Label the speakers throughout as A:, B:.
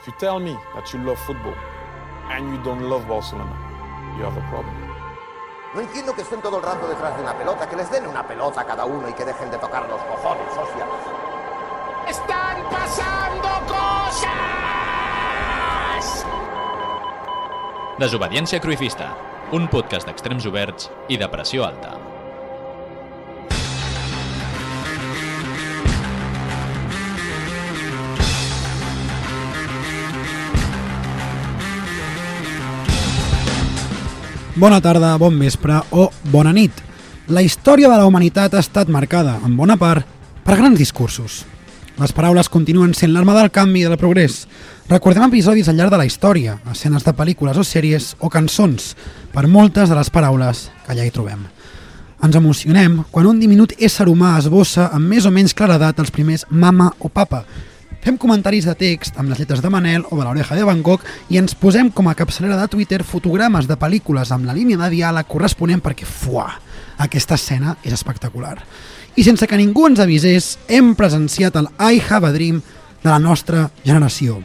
A: If you tell me that you love football and you don't love Barcelona, you have a problem.
B: No entiendo que estén todo el rato detrás de una pelota, que les den una pelota a cada uno y que dejen de tocar los cojones, hostia.
C: ¡Están pasando cosas!
D: Desobediència Cruifista, un podcast d'extrems oberts i de pressió alta.
E: Bona tarda, bon vespre o bona nit. La història de la humanitat ha estat marcada, en bona part, per grans discursos. Les paraules continuen sent l'arma del canvi i del progrés. Recordem episodis al llarg de la història, escenes de pel·lícules o sèries o cançons, per moltes de les paraules que allà hi trobem. Ens emocionem quan un diminut ésser humà esbossa amb més o menys claredat els primers mama o papa. Fem comentaris de text amb les lletres de Manel o de l'oreja de Van Gogh i ens posem com a capçalera de Twitter fotogrames de pel·lícules amb la línia de diàleg corresponent perquè, fuà, aquesta escena és espectacular. I sense que ningú ens avisés, hem presenciat el I have a dream de la nostra generació.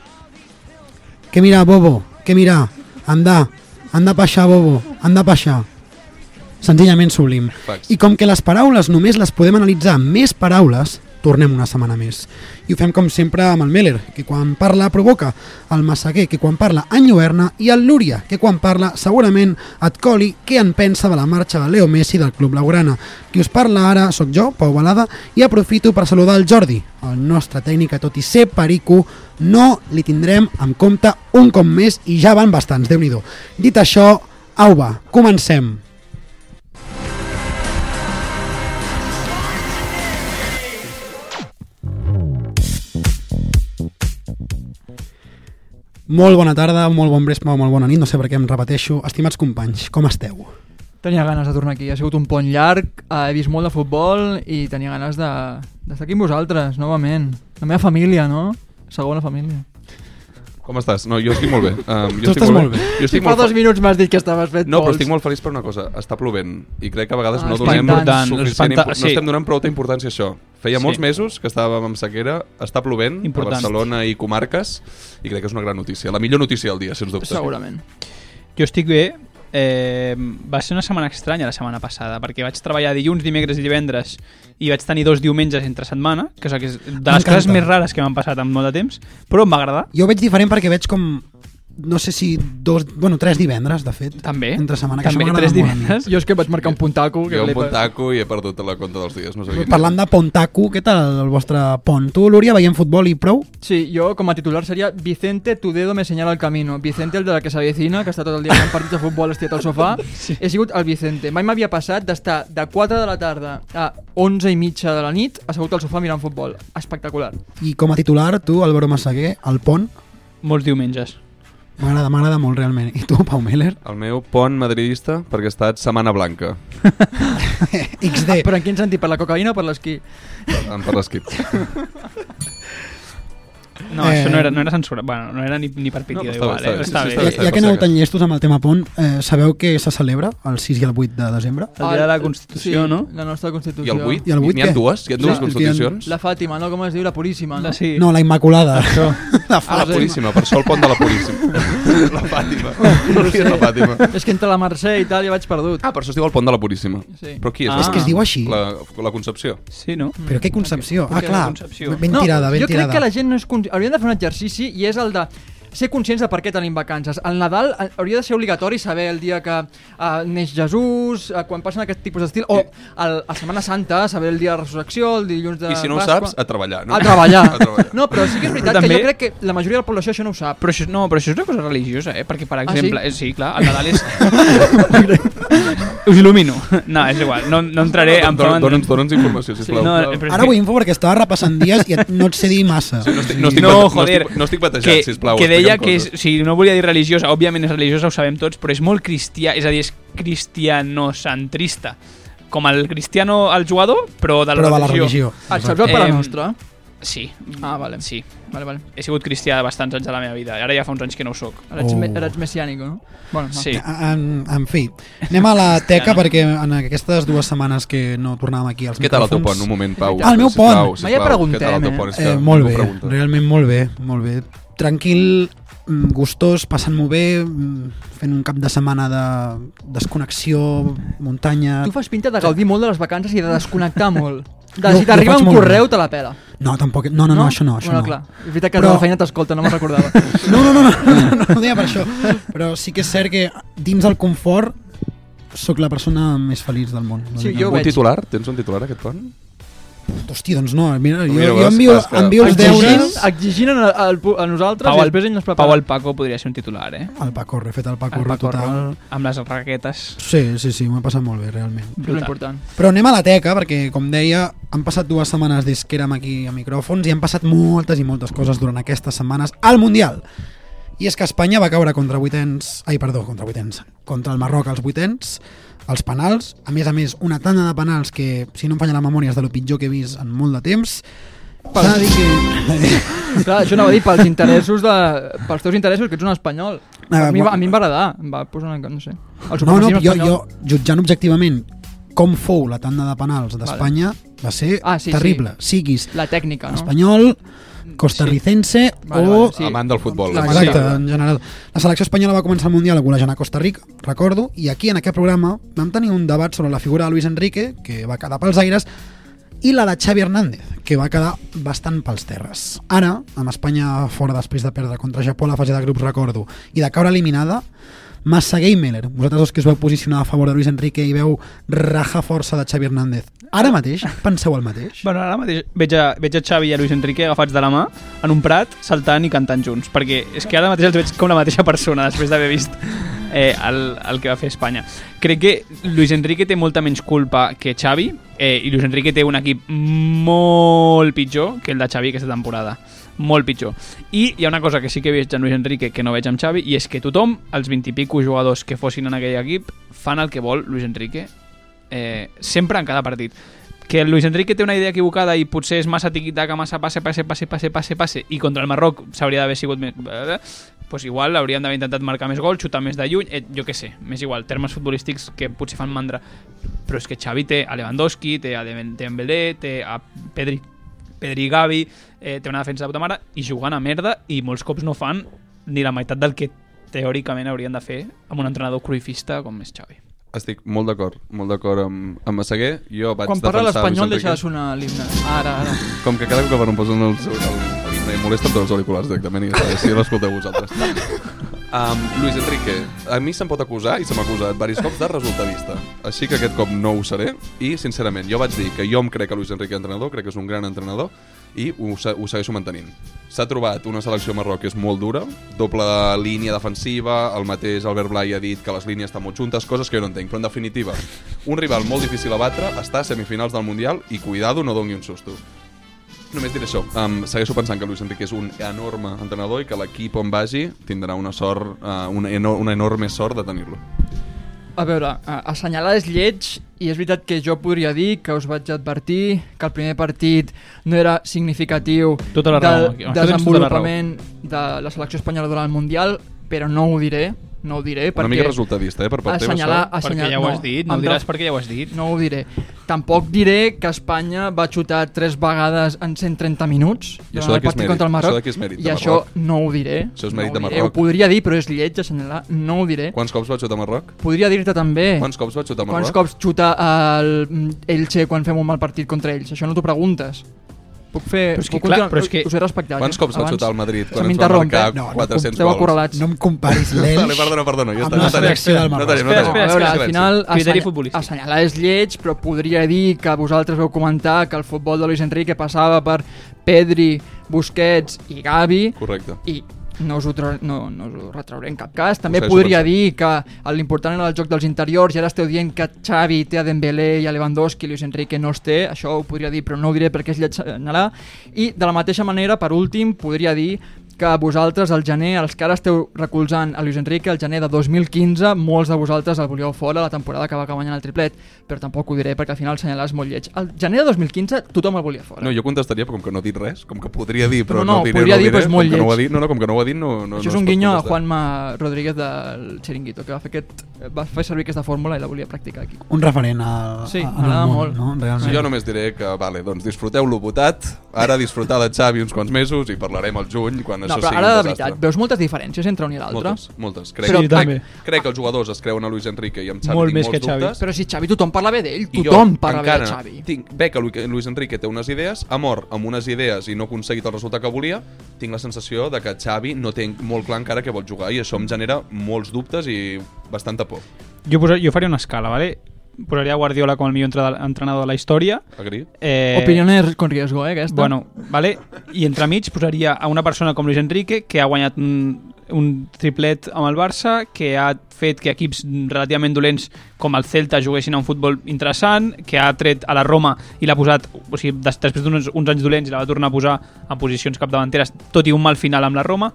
E: Que mira, Bobo, que mira, anda, anda pa allà, Bobo, anda pa allà senzillament sublim.
F: Facts.
E: I com que les paraules només les podem analitzar amb més paraules, tornem una setmana més. I ho fem com sempre amb el Meller, que quan parla provoca, el Massaguer, que quan parla enlluerna, i el Lúria, que quan parla segurament et coli què en pensa de la marxa de Leo Messi del Club Laurana. Qui us parla ara sóc jo, Pau Balada, i aprofito per saludar el Jordi, el nostre tècnic que tot i ser perico, no li tindrem en compte un cop més i ja van bastants, déu nhi Dit això, au va, comencem. Molt bona tarda, molt bon vespre, molt bona nit, no sé per què em repeteixo. Estimats companys, com esteu?
G: Tenia ganes de tornar aquí, ha sigut un pont llarg, eh, he vist molt de futbol i tenia ganes de- d'estar de, aquí amb vosaltres, novament. La meva família, no? Segona família.
F: Com estàs? No, jo estic molt bé.
E: Tu
F: Um, jo estic
E: estàs
F: molt
E: molt bé.
F: Jo
G: Si
F: estic
G: fa
F: molt
G: dos
F: fe-
G: minuts m'has dit que estaves fet
F: No, però
G: pols.
F: estic molt feliç per una cosa. Està plovent. I crec que a vegades
G: Ah,
F: no
G: és
F: donem
G: important.
F: suficient...
H: Espanta-
F: Impo...
H: sí.
F: No estem donant prou importància a això. Feia
H: Sí.
F: molts mesos que estàvem amb sequera, està plovent
H: Important.
F: a Barcelona i comarques i crec que és una gran notícia. La millor notícia del dia, sens dubte.
G: Segurament.
H: Jo estic bé. Eh, va ser una setmana estranya la setmana passada, perquè vaig treballar dilluns, dimecres i divendres i vaig tenir dos diumenges entre setmana, que és, que és de les
E: M'encanta.
H: coses més rares que m'han passat en molt de temps, però em va agradar.
E: Jo ho veig diferent perquè veig com, no sé si dos, bueno, tres divendres, de fet.
H: També.
E: Entre setmana, que
H: També,
E: això m'agrada
H: tres
E: molt a mi.
H: divendres.
G: Jo és que vaig marcar un puntaco. Que
F: Jo un
G: flipes.
F: bon taco i he perdut la compta dels dies. No sé quin
E: Parlant de Pontaku, què tal el vostre pont? Tu, Lúria, veiem futbol i prou?
G: Sí, jo com a titular seria Vicente, tu dedo me señala el camino. Vicente, el de la que s'avecina, que està tot el dia fent partits de futbol estirat al sofà. Sí. He sigut el Vicente. Mai m'havia passat d'estar de 4 de la tarda a 11 i mitja de la nit assegut al sofà mirant futbol. Espectacular.
E: I com a titular, tu, Álvaro Massaguer, el pont,
H: Molts diumenges.
E: m'agrada, m'agrada molt realment. I tu, Pau Meller?
F: El meu pont madridista perquè ha estat Setmana Blanca
H: Ah,
E: XD.
G: Però en quin sentit? Per la cocaïna o per l'esquí?
F: en per l'esquip.
H: No,
E: Eh.
H: eh... això no era, no era censura. Bueno, no era ni, ni per pitido,
F: No,
H: no,
F: però
H: igual.
F: està bé,
H: eh?
F: està bé, sí,
E: Ja,
F: sí,
E: ja que aneu tan llestos amb el tema pont, eh, sabeu que se celebra el 6 i el 8 de desembre?
H: El dia de la Constitució,
G: sí,
H: no?
G: La nostra Constitució.
F: I el 8?
E: I el vuit
F: N'hi ha
E: què?
F: dues? Hi ha dues
E: Sí,
F: constitucions?
G: La Fàtima, no? Com es diu? La Puríssima, no?
H: La, Doncs sí.
E: No, la Immaculada.
H: Això.
E: La
F: Ah, la
E: frase.
F: Puríssima, per això el pont de la Puríssima. la Fàtima. La Fàtima.
G: És que entre la Mercè i tal ja vaig perdut.
F: Ah, per això es diu el pont de la Puríssima.
G: Sí.
F: Però qui és?
H: Ah.
F: la-
H: És que es
E: diu així.
F: La, la Concepció.
H: Sí, no?
E: Però què concepció? Ah,
H: Perquè
E: clar,
H: la concepció.
E: ben tirada, ben
G: jo
E: tirada.
G: crec que la gent no és... Con... Hauríem de fer un exercici i és el de ser conscients de per què tenim vacances. El Nadal eh, hauria de ser obligatori saber el dia que uh, neix Jesús, uh, quan passen aquest tipus d'estil, o el, a Setmana Santa, saber el dia de resurrecció, el dilluns de
F: I si no ho
G: Pasqua...
F: saps, a treballar. No?
G: a treballar.
F: a treballar.
G: No, però sí que és veritat
H: Però
G: que
H: també-
G: jo crec que la majoria de la població això no ho sap.
H: Però això, no, però això és una cosa religiosa, eh? Perquè, per
G: sí?
H: exemple... Ah, sí? sí, clar, el Nadal és... Us il·lumino. No, és igual, no, no entraré... en
F: Dona-
H: plan-
F: Dona'ns dona'ns informació, sisplau.
H: No,
F: No, eh,
H: però és
E: Ara
H: que-
E: vull info perquè estava repassant dies i et- no et sé dir massa.
F: no estic, no estic,
H: No,
F: bate-
H: joder.
F: No estic, no estic batejat,
H: que,
F: sisplau.
H: que deia
F: explica'm
H: que és,
F: coses.
H: si no volia dir religiosa, òbviament és religiosa, ho sabem tots, però és molt cristià, és a dir, és cristianocentrista. Com el cristiano, el jugador, però de la,
E: Però de la
H: religió.
E: religió.
G: Et saps el
H: Eh,
G: per la nostra?
H: Sí.
G: Ah, vale.
H: Sí.
G: Vale, vale.
H: He sigut cristià bastants anys de la meva vida. Ara ja fa uns anys que no ho soc.
G: Ara ets,
E: Oh.
G: me, ara ets messiànico, no? Bueno,
H: Sí.
E: En, en fi, anem a la teca perquè en aquestes dues setmanes que no tornàvem aquí als
F: Què tal el teu
E: micròfons-
F: pont? Un moment, Pau.
E: Ah, el meu
F: sisplau,
E: pont.
F: sisplau,
G: Mai ja
F: què tal el teu
G: preguntem, eh?
F: pont? És que
E: Eh, molt
F: ningú
E: bé,
F: pregunta.
E: realment molt bé, molt bé. tranquil, mm, gustós, passant-m'ho bé, mm, fent un cap de setmana de desconnexió, muntanya...
G: Tu fas pinta de gaudir molt de les vacances i de desconnectar molt. De,
E: Jo-
G: si
E: jo
G: t'arriba
E: faig
G: un
E: molt
G: correu,
E: bé.
G: te la pela.
E: No, tampoc... No, no, no, això no, això
G: bueno,
E: no.
G: clar. És veritat que
E: Però-
G: Però... la feina t'escolta, no me'n recordava.
E: No, no, no, no, no, no, ho deia per això. Però sí que és cert que dins del confort sóc la persona més feliç del món.
G: Sí, jo
F: Un
G: veig.
F: titular? Tens un titular aquest pont?
E: Hòstia, doncs no, mira, jo,
F: Mira,
E: jo
F: veus,
E: envio,
F: clar, és que-
E: envio els
G: Exigint,
E: deures...
G: exigint a, a, a nosaltres
H: Pau,
G: i
H: el,
G: després ell ens prepara.
H: Pau el Paco podria ser un titular, eh?
E: El Pacorre, he fet el
H: El
E: Pacorre
H: Paco
E: total.
H: Ro- amb les raquetes.
E: Sí, sí, sí, m'ha passat molt bé, realment.
G: Això és important.
E: Però anem a la teca, perquè, com deia, han passat dues setmanes des que érem aquí a micròfons i han passat moltes i moltes coses durant aquestes setmanes al Mundial. I és que Espanya va caure contra vuitens... Ai, perdó, contra vuitens. Contra el Marroc als vuitens, als penals. A més a més, una tanda de penals que, si no em falla la memòria, és de lo pitjor que he vist en molt de temps. S'ha de dir que...
G: Clar, això anava a dir, pels interessos de... pels teus interessos, que ets un espanyol.
E: Ah,
G: a, mi,
E: bueno.
G: va- a mi em va agradar, em va posar una... no sé. El
E: No, no,
G: supremacisme
E: jo,
G: espanyol.
E: jo, jutjant objectivament com fou la tanda de penals d'Espanya, va ser
G: Ah, sí,
E: terrible. Siguis
G: La tècnica, no?
E: espanyol, costarricense
G: Vale,
E: o...
G: vale, Sí.
F: Amant del futbol.
G: La
E: Exacte,
G: Amant
E: en general. La selecció espanyola va començar el Mundial golejant a Costa Rica, recordo, i aquí en aquest programa vam tenir un debat sobre la figura de Luis Enrique, que va quedar pels aires, i la de Xavi Hernández, que va quedar bastant pels terres. Ara, amb Espanya fora després de perdre contra Japó a la fase de grups, recordo, i de caure eliminada, Massaguer i Meller, vosaltres dos que us veu posicionar a favor de Luis Enrique i veu rajar força de Xavi Hernández, ara mateix penseu el mateix?
H: Bueno, ara mateix veig a, veig a Xavi i a Luis Enrique agafats de la mà en un prat, saltant i cantant junts, perquè és que ara mateix els veig com la mateixa persona després d'haver vist eh, el, el que va fer Espanya. Crec que Luis Enrique té molta menys culpa que Xavi eh, i Luis Enrique té un equip molt pitjor que el de Xavi aquesta temporada molt pitjor. I hi ha una cosa que sí que veig en Luis Enrique que no veig amb Xavi i és que tothom, els 20 i pico jugadors que fossin en aquell equip, fan el que vol Luis Enrique eh, sempre en cada partit que el Luis Enrique té una idea equivocada i potser és massa tiquitaca, massa passe, passe, passe, passe, passe, passe, i contra el Marroc s'hauria d'haver sigut més... pues igual hauríem d'haver intentat marcar més gols, xutar més de lluny, eh, jo què sé, més igual, termes futbolístics que potser fan mandra. Però és que Xavi té a Lewandowski, té a Dem- Dembélé, té a Pedri, Pedri i Gavi, eh, té una defensa de puta mare, i jugant a merda, i molts cops no fan ni la meitat del que teòricament haurien de fer amb un entrenador cruifista com és Xavi.
F: Estic molt d'acord, molt d'acord amb, amb Massaguer. Jo vaig
G: Quan parla
F: defensar Luis
G: l'espanyol deixa
F: Enrique.
G: de sonar l'himne. Ara, ara.
F: Com que cada cop que em posen els, el, el, el, em molesta amb els auriculars directament i ja està, si l'escolteu vosaltres. Um, Luis Enrique, a mi se'm pot acusar i se m'ha acusat diversos cops de resultavista. Així que aquest cop no ho seré i, sincerament, jo vaig dir que jo em crec que Luis Enrique és entrenador, crec que és un gran entrenador i ho, se- ho segueixo mantenint. S'ha trobat una selecció a Marroc que és molt dura, doble línia defensiva, el mateix Albert Blai ha dit que les línies estan molt juntes, coses que jo no entenc, però en definitiva, un rival molt difícil a batre, està a semifinals del Mundial i cuidado, no doni un susto. Només diré això. Um, segueixo pensant que Luis Enrique és un enorme entrenador i que l'equip on vagi tindrà una sort, uh, una, eno una enorme sort de tenir-lo.
G: A veure, a- assenyalar és lleig i és veritat que jo podria dir que us vaig advertir que el primer partit no era significatiu
H: Tota la raó, aquí.
G: del
H: Tens tota la
G: desenvolupament de la selecció espanyola durant el Mundial, però no ho diré, no ho diré,
F: Una
G: perquè...
F: mica resultadista, eh, per part teva,
G: assenyalar,
F: això.
G: assenyalar,
H: perquè ja ho has dit, no
G: em
H: ho diràs perquè ja ho has dit.
G: No ho diré. Tampoc diré que Espanya va xutar tres vegades en 130 minuts
F: I
G: durant
F: això de
G: el
F: qui és
G: partit
F: mèrit?
G: contra el
F: Això
G: Marroc.
F: de qui és mèrit?
G: I
F: De
G: això
F: Marroc?
G: no ho diré.
F: Això és
G: no
F: mèrit
G: ho
F: de
G: diré.
F: Marroc.
G: Ho podria dir, però és lleig assenyalar. No ho diré.
F: Quants cops va xutar Marroc?
G: Podria dir-te també...
F: Quants cops va xutar Marroc?
G: Eh. Quants cops xuta el Elche quan fem un mal partit contra ells? Això no t'ho preguntes. Puc fer...
H: Però és que,
G: puc
H: clar,
G: continuar-
H: però és que-
G: Us he respectat.
F: Quants
G: eh,
F: cops va
G: abans.
F: xutar el Madrid
G: Se
F: quan ens va
G: m'interromp,
F: marcar
G: eh?
E: No, no,
F: 400
G: Esteu
F: gols?
G: acorrelats.
E: No em comparis
F: Vale,
E: l'Elx
F: perdona, perdona, ja
E: amb
F: està.
E: la
F: No tenim,
E: selecció del
F: no
E: Marroc.
F: tenim, no
H: Espera,
F: tenim.
H: espera,
G: a veure, al
F: Silenci.
G: final
H: Criteri
G: assenya-
H: futbolístic.
G: assenyalar és lleig, però podria dir que vosaltres veu comentar que el futbol de Luis Enrique passava per Pedri, Busquets i Gavi
F: Correcte.
G: i no us, ho tra... no, no us ho retrauré en cap cas. També
F: segueixo
G: podria
F: pensant.
G: dir que l'important era el joc dels interiors i ara esteu dient que Xavi té a Dembélé i a Lewandowski i Luis Enrique no els té, això ho podria dir però no ho diré perquè és lleig anarà. I de la mateixa manera, per últim, podria dir que vosaltres al gener, els que ara esteu recolzant a Luis Enrique, el gener de 2015, molts de vosaltres el volíeu fora la temporada que va acabar guanyant el triplet, però tampoc ho diré perquè al final assenyalar és molt lleig. El gener de 2015 tothom el volia fora.
F: No, jo contestaria, però com que no ha dit res, com que podria dir,
G: No,
F: però no,
G: no,
F: ho diré,
G: podria
F: no ho
G: dir,
F: diré,
G: però és molt
F: com que no ho ha
G: lleig.
F: dit, no, no, com que no ho ha dit, no, no,
G: Això
F: no
G: és
F: es
G: un
F: pot
G: guinyo a
F: contestar.
G: Juanma Rodríguez del Chiringuito, que va fer, aquest, va fer servir aquesta fórmula i la volia practicar aquí.
E: un referent al,
G: Sí,
E: a- al
G: m'agrada
E: món,
G: molt.
E: no? Realment.
F: Jo només diré que, vale, doncs disfruteu-lo votat, ara disfrutar de Xavi uns quants mesos i parlarem al juny quan
G: No,
F: Això
G: però
F: sí,
G: ara
F: un
G: de
F: desastre.
G: veritat, veus moltes diferències entre un i l'altre?
F: Moltes, moltes. Crec,
H: Però-
F: crec,
H: també.
F: crec que els jugadors es creuen a Luis Enrique i amb Xavi
H: Molt
F: tinc
H: més
F: molts
H: que Xavi.
F: dubtes.
G: Però si Xavi tothom parla bé d'ell,
F: I
G: tothom
F: jo,
G: parla bé
F: encara,
G: de Xavi.
F: Tinc, veig que Lu- Luis Enrique té unes idees, ha mort amb unes idees i no ha aconseguit el resultat que volia, tinc la sensació de que Xavi no té molt clar encara què vol jugar i això em genera molts dubtes i bastanta por.
H: Jo, posa, jo faria una escala, ¿vale? Posaria Guardiola com el millor entre- entrenador de la història.
F: Agri?
H: Eh,
G: Opiniones con riesgo, eh, aquesta.
H: Bueno, vale? I entremig posaria a una persona com Luis Enrique, que ha guanyat un, un triplet amb el Barça, que ha fet que equips relativament dolents com el Celta juguessin a un futbol interessant, que ha tret a la Roma i l'ha posat, o sigui, des, després d'uns uns anys dolents i la va tornar a posar en posicions capdavanteres, tot i un mal final amb la Roma.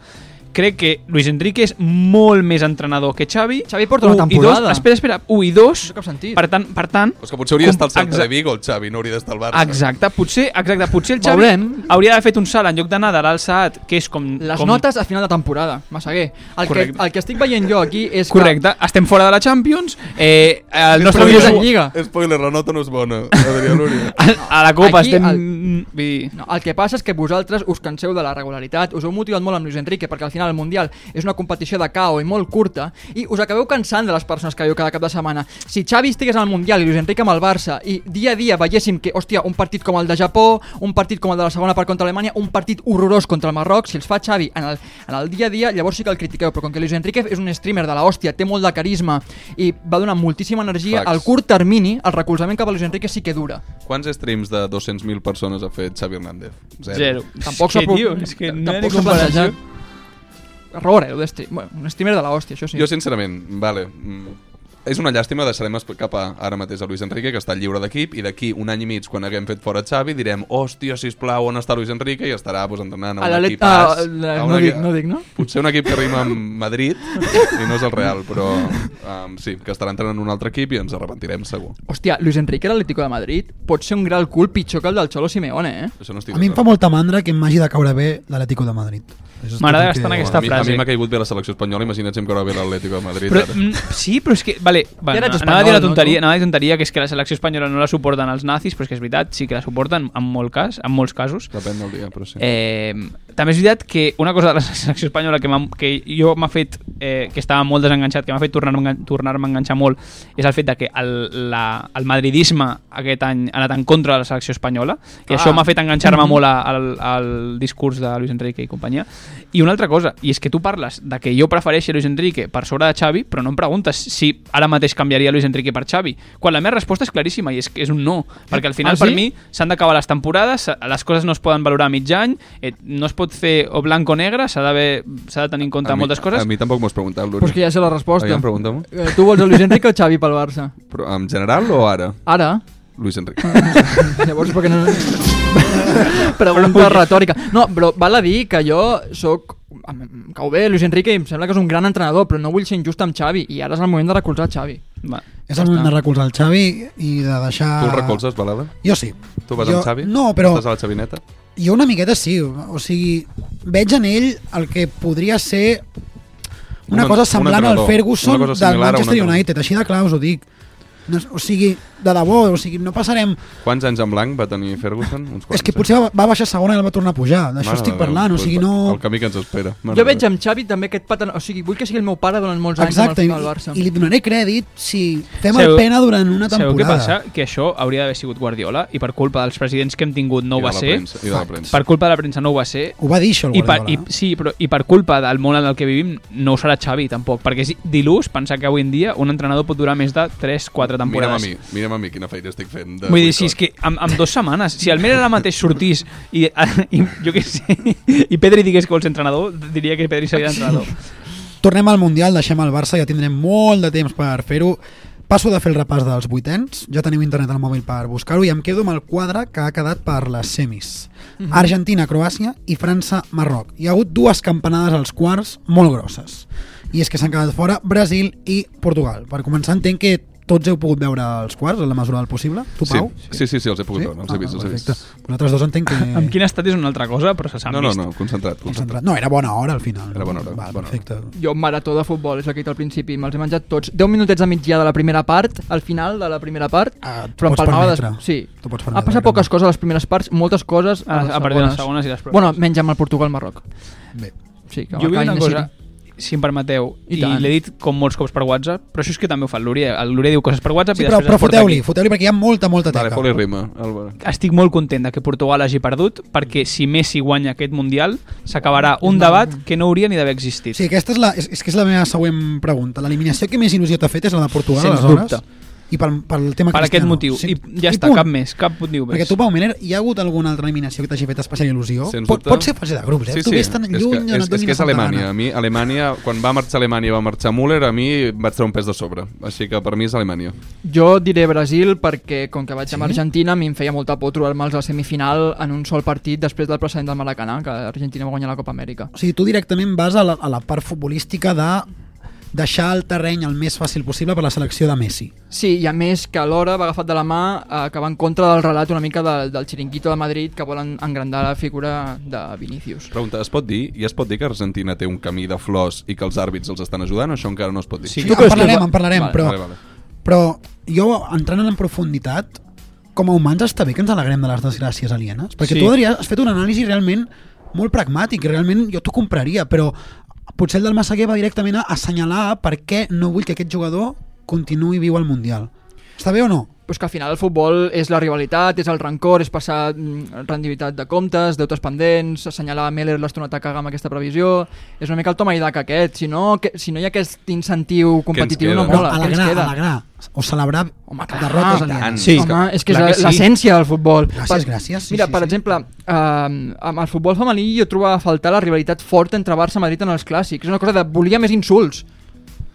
H: Crec que Luis Enrique és molt més entrenador que Xavi.
G: Xavi porta una
H: Un i dos-
G: temporada.
H: espera, espera, 1 i 2.
G: No té cap sentit.
H: Per tant, per tant
F: Però és que potser hauria d'estar al Celta
H: Exacte.
F: de Vigo, el Xavi, no hauria d'estar al Barça.
H: Exacte, potser, exacte, potser el Xavi
G: Veurem.
H: hauria d'haver fet un salt en lloc d'anar de l'alçat, que és com...
G: Les
H: com...
G: notes a final de temporada, Massaguer. El que,
H: Correcte.
G: el que estic veient jo aquí és
H: Correcte, estem fora de la Champions, eh, el
G: que...
H: nostre
G: Correcte.
H: millor...
G: en Lliga.
F: Spoiler, la nota no és bona, Adrià Núria.
H: A la Copa
G: Aquí
H: estem...
G: el-
H: El...
G: No, el que passa és que vosaltres us canseu de la regularitat, us heu motivat molt amb Luis Enrique perquè al final el Mundial és una competició de cao i molt curta i us acabeu cansant de les persones que veieu cada cap de setmana. Si Xavi estigués al Mundial i Luis Enrique amb el Barça i dia a dia veiéssim que, hòstia, un partit com el de Japó, un partit com el de la segona part contra Alemanya, un partit horrorós contra el Marroc, si els fa Xavi en el, en el dia a dia, llavors sí que el critiqueu, però com que Luis Enrique és un streamer de la hòstia, té molt de carisma i va donar moltíssima energia,
F: Facts.
G: al curt termini el recolzament cap a Luis Enrique sí que dura.
F: Quants streams de 200.000 persones ha fet Xavi Hernández?
H: Zero.
G: Tampoc
H: és
G: s'ha
H: que,
G: pro-
H: tio, és que no hi ha
G: tampoc
H: ni
G: s'ha
H: comparació.
G: plantejat. Error, eh, lo de stream. Bueno, un streamer de la hòstia, això sí.
F: Jo, sincerament, vale... mm, És una llàstima, deixarem es- cap a, ara mateix a Luis Enrique, que està lliure d'equip, i d'aquí un any i mig, quan haguem fet fora Xavi, direm, hòstia, sisplau, on està Luis Enrique? I estarà pues, entrenant a
G: a
F: un
G: la
F: equip pas. a un
G: no,
F: equi-
G: dic, no dic, no?
F: Potser un equip que rima amb Madrid, i no és el Real, però um, sí, que estarà entrenant un altre equip i ens arrepentirem, segur.
G: Hòstia, Luis Enrique, l'Atlético de Madrid, pot ser un gran cul pitjor que el del Xolo Simeone, eh?
F: Això no estic
E: A mi em fa
F: d'acord.
E: molta mandra que m'hagi de caure bé l'Atlético de Madrid. Això és
H: M'agrada
E: tot el
H: bastant
E: que-
H: aquesta
F: a mi- A
H: frase.
F: mi m'ha caigut bé la selecció espanyola, imagina't si em caurà bé l'Atlético de Madrid.
H: Però,
F: ara.
H: mm, sí, però és que... Vale, va,
G: Ja eres
H: anava a
G: espanyol,
H: dir una
G: no,
H: tonteria,
G: tu?
H: anava a dir tonteria, que és que la selecció espanyola no la suporten els nazis, però és que és veritat, sí que la suporten en, molt cas, en molts casos.
F: Depèn del dia, però sí.
H: Eh, també és veritat que una cosa de la selecció espanyola que, m'ha- que jo m'ha fet, eh, que estava molt desenganxat, que m'ha fet tornar-me a engan- tornar-me a enganxar molt, és el fet de que el, la, el madridisme aquest any ha anat en contra de la selecció espanyola, i
G: Ah.
H: això m'ha fet enganxar-me molt a- al, al discurs de Luis Enrique i companyia. I una altra cosa, i és que tu parles de que jo prefereixo Luis Enrique per sobre de Xavi, però no em preguntes si ara mateix canviaria Luis Enrique per Xavi, quan la meva resposta és claríssima i és que és un no, perquè al final
G: Ah, sí?
H: per mi s'han d'acabar les temporades, se- les coses no es poden valorar a mig any, eh, no es pot fer o blanc o negre, s'ha d'haver- s'ha de tenir en compte
F: a mi,
H: moltes coses.
F: A mi tampoc m'ho has preguntat, Luri.
G: Però és que ja sé la resposta.
F: Aviam, pregunta-m'ho.
G: Eh, tu vols el Luis Enrique o Xavi pel Barça?
F: Però en general o ara?
G: Ara?
F: Luis Enrique.
E: Ah.
G: Llavors, perquè no... Pregunta retòrica. No, però val a dir que jo sóc... em- em Cau bé, Luis Enrique, i em sembla que és un gran entrenador, però no vull ser injust amb Xavi, i ara és el moment de recolzar Xavi.
H: Va.
E: És el moment de recolzar el Xavi i de deixar...
F: Tu el recolzes, Balada?
E: Jo sí.
F: Tu vas
E: jo...
F: amb Xavi?
E: No, però
F: Estàs a la xavineta?
E: jo una miqueta sí. O sigui, veig en ell el que podria ser una
F: Un-
E: cosa
F: un
E: semblant al
F: entrenador.
E: Ferguson
F: Una cosa
E: del
F: similar a un
E: Manchester
F: entrenador.
E: United. Així de clar us ho dic. No, és- o sigui, de debò, o sigui, no passarem...
F: Quants anys en blanc va tenir Ferguson? Uns
E: És
F: quants,
E: que
F: eh?
E: potser va, va baixar segona i el va tornar a pujar. D'això
F: Mare
E: estic
F: de Déu,
E: parlant, o
F: doncs
E: sigui,
F: El
E: no...
F: camí que ens espera. Mare
G: Jo
F: de
G: veig
F: Déu.
G: amb Xavi també aquest patent... O sigui, vull que sigui el meu pare durant molts anys
E: Exacte,
G: amb
E: i,
G: el, al Barça.
E: i li donaré crèdit si fem
H: Sabeu-
E: el pena durant una
H: Sabeu què
E: temporada.
H: passa? Que això hauria d'haver sigut Guardiola i per culpa dels presidents que hem tingut
F: I
H: no ho
F: de
H: va
F: la
H: ser.
F: premsa, I de la premsa.
H: Per culpa de la premsa no ho va ser.
E: Ho va dir això el
H: I per,
E: Guardiola.
H: i, sí, però, i per culpa del món en el que vivim no ho serà Xavi tampoc, perquè és dilús pensar que avui en dia un entrenador pot durar més de 3-4
F: Mira'm a
H: temporades.
F: mi, mira'm a mi quina feina estic fent. De
H: Vull dir, si és
F: boicot.
H: que amb, amb dues setmanes, si el Mera ara mateix sortís i, i jo què sé, i Pedri digués que vols entrenador, diria que Pedri seria entrenador.
E: Tornem al Mundial, deixem el Barça, ja tindrem molt de temps per fer-ho. Passo de fer el repàs dels vuitens, ja tenim internet al mòbil per buscar-ho i em quedo amb el quadre que ha quedat per les semis. Argentina, Croàcia i França, Marroc. Hi ha hagut dues campanades als quarts molt grosses. I és que s'han quedat fora Brasil i Portugal. Per començar, entenc que tots heu pogut veure els quarts en la mesura del possible? Tu,
F: Sí,
E: Pau?
F: sí, sí, sí, els he pogut veure, els he
E: Ah,
F: vist, els he vist.
E: perfecte. Vosaltres dos entenc que...
H: Amb quin estat és una altra cosa, però se s'han
F: No, no,
H: vist.
F: no, concentrat, concentrat.
E: concentrat. No, era bona hora al final.
F: Era bona hora,
E: Val,
F: bona hora.
E: perfecte.
G: Jo, marató de futbol, és el que he dit al principi, me'ls he menjat tots. 10 minutets de mitjà de la primera part, al final de la primera part,
E: Ah, et
G: però em
E: pots
G: palmava... Des...
E: permetre.
G: Sí,
E: T'ho pots
G: ha
E: permetre,
G: passat
E: crec.
G: poques coses a les primeres parts, moltes coses
H: A,
G: a, les
H: a partir de les segones i les proves.
G: Bueno, menys amb el Portugal-Marroc.
E: Bé.
G: Sí, que
H: jo vull dir una
G: acabin de
H: cosa,
G: City.
H: si em permeteu,
G: I
H: i,
G: tant.
H: l'he dit com molts cops per WhatsApp, però això és que també ho fa el Lúria. El Lúria diu coses per WhatsApp
E: Sí,
H: i
E: però,
H: després
E: però
H: les porta
E: foteu-li,
H: aquí.
E: foteu-li perquè hi ha molta, molta
F: Vale,
E: teca.
F: foli rima, Álvaro.
H: Estic molt content de que Portugal hagi perdut perquè si Messi guanya aquest Mundial s'acabarà un debat que no hauria ni d'haver existit.
E: Sí, aquesta és, la, és, és que és la meva següent pregunta. L'eliminació que més il·lusió t'ha fet és la de Portugal,
H: Sens
E: aleshores?
H: dubte.
E: I pel, pel tema
H: per aquest
E: Cristiano.
H: motiu.
E: Sí.
H: I ja està,
E: punt.
H: cap més, cap motiu més.
E: Perquè tu, Pau Miner, hi ha hagut alguna altra eliminació que t'hagi fet especial il·lusió?
F: Sens
E: Pot,
F: dubte.
E: pot ser fase de grups, eh? tu ves tan
F: És
E: lluny,
F: que,
E: no
F: és,
E: et doni
F: és,
E: la
F: que és
E: santa
F: Alemanya.
E: gana.
F: A mi, Alemanya, quan va marxar Alemanya i va marxar Müller, a mi vaig treure un pes de sobre. Així que per mi és Alemanya.
G: Jo diré Brasil perquè, com que vaig amb Argentina, a mi em feia molta por trobar-me'ls a la semifinal en un sol partit després del precedent del Maracanà, que Argentina va guanyar la Copa Amèrica.
E: O sigui, tu directament vas a la, a la part futbolística de deixar el terreny el més fàcil possible per la selecció de Messi.
G: Sí, i a més que alhora va agafat de la mà eh, que va en contra del relat una mica del, del xiringuito de Madrid que volen engrandar la figura de Vinícius.
F: Pregunta, es pot dir? I es pot dir que Argentina té un camí de flors i que els àrbits els estan ajudant? o Això encara no es pot dir.
H: Sí.
E: Sí,
H: tu
E: en
H: creus que-
E: parlarem, en parlarem,
G: Vale,
E: però,
F: Vale, vale.
E: però jo, entrant en profunditat, com a humans està bé que ens alegrem de les desgràcies alienes, perquè
H: Sí.
E: tu, Adrià, has fet una anàlisi realment molt pragmàtic, i realment jo t'ho compraria, però potser el del Massaguer va directament a assenyalar per què no vull que aquest jugador continuï viu al Mundial. Està bé o no?
G: Però és que al final el futbol és la rivalitat, és el rancor, és passar mm, rendibilitat de comptes, deutes pendents, assenyalar a Meller l'estona que caga amb aquesta previsió... És una mica el toma i daca aquest. Si no, que, si no hi ha aquest incentiu competitiu,
F: queda?
G: no
F: No,
E: No,
G: mola. Què ens
E: alegrar,
G: queda?
E: alegrar, o celebrar
G: Home, clar,
E: derrotes
G: tant.
E: alienes.
F: Mm.
H: Sí,
G: Home, és que és
H: clar
G: la-
H: que sí.
G: l'essència del futbol.
E: Gràcies, gràcies, sí,
G: mira,
E: sí,
G: per
E: sí.
G: exemple, eh, amb el futbol femení jo trobava a faltar la rivalitat forta entre Barça i Madrid en els clàssics. És una cosa de volia més insults.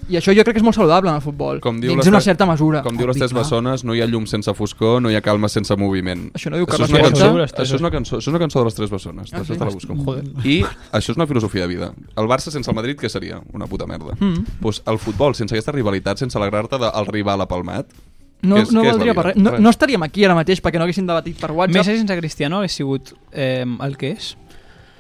G: I això jo crec que és molt saludable en el futbol.
F: Com diu
G: dins
F: l'Ester-
G: una certa mesura.
F: Com diu les
E: Obvi,
F: tres
E: clar.
F: bessones, no hi ha llum sense foscor, no hi ha calma sense moviment.
G: Això no diu
F: això és,
G: Carles
F: una
H: Cuesta?
F: cançó, això, és una cançó, això és una cançó de les tres bessones.
G: Ah,
F: Ah,
G: sí?
F: sí? te la busco.
H: Joder.
F: I això és una filosofia de vida. El Barça sense el Madrid, què seria? Una puta merda. Mm. Pues el futbol, sense aquesta rivalitat, sense alegrar-te del rival apalmat,
G: No,
F: Què és-
G: no
F: què és la
G: valdria
F: vida?
G: per res. No,
F: Res.
G: no estaríem aquí ara mateix perquè no haguéssim debatit per WhatsApp.
H: Messi sense Cristiano hauria sigut eh, el que és?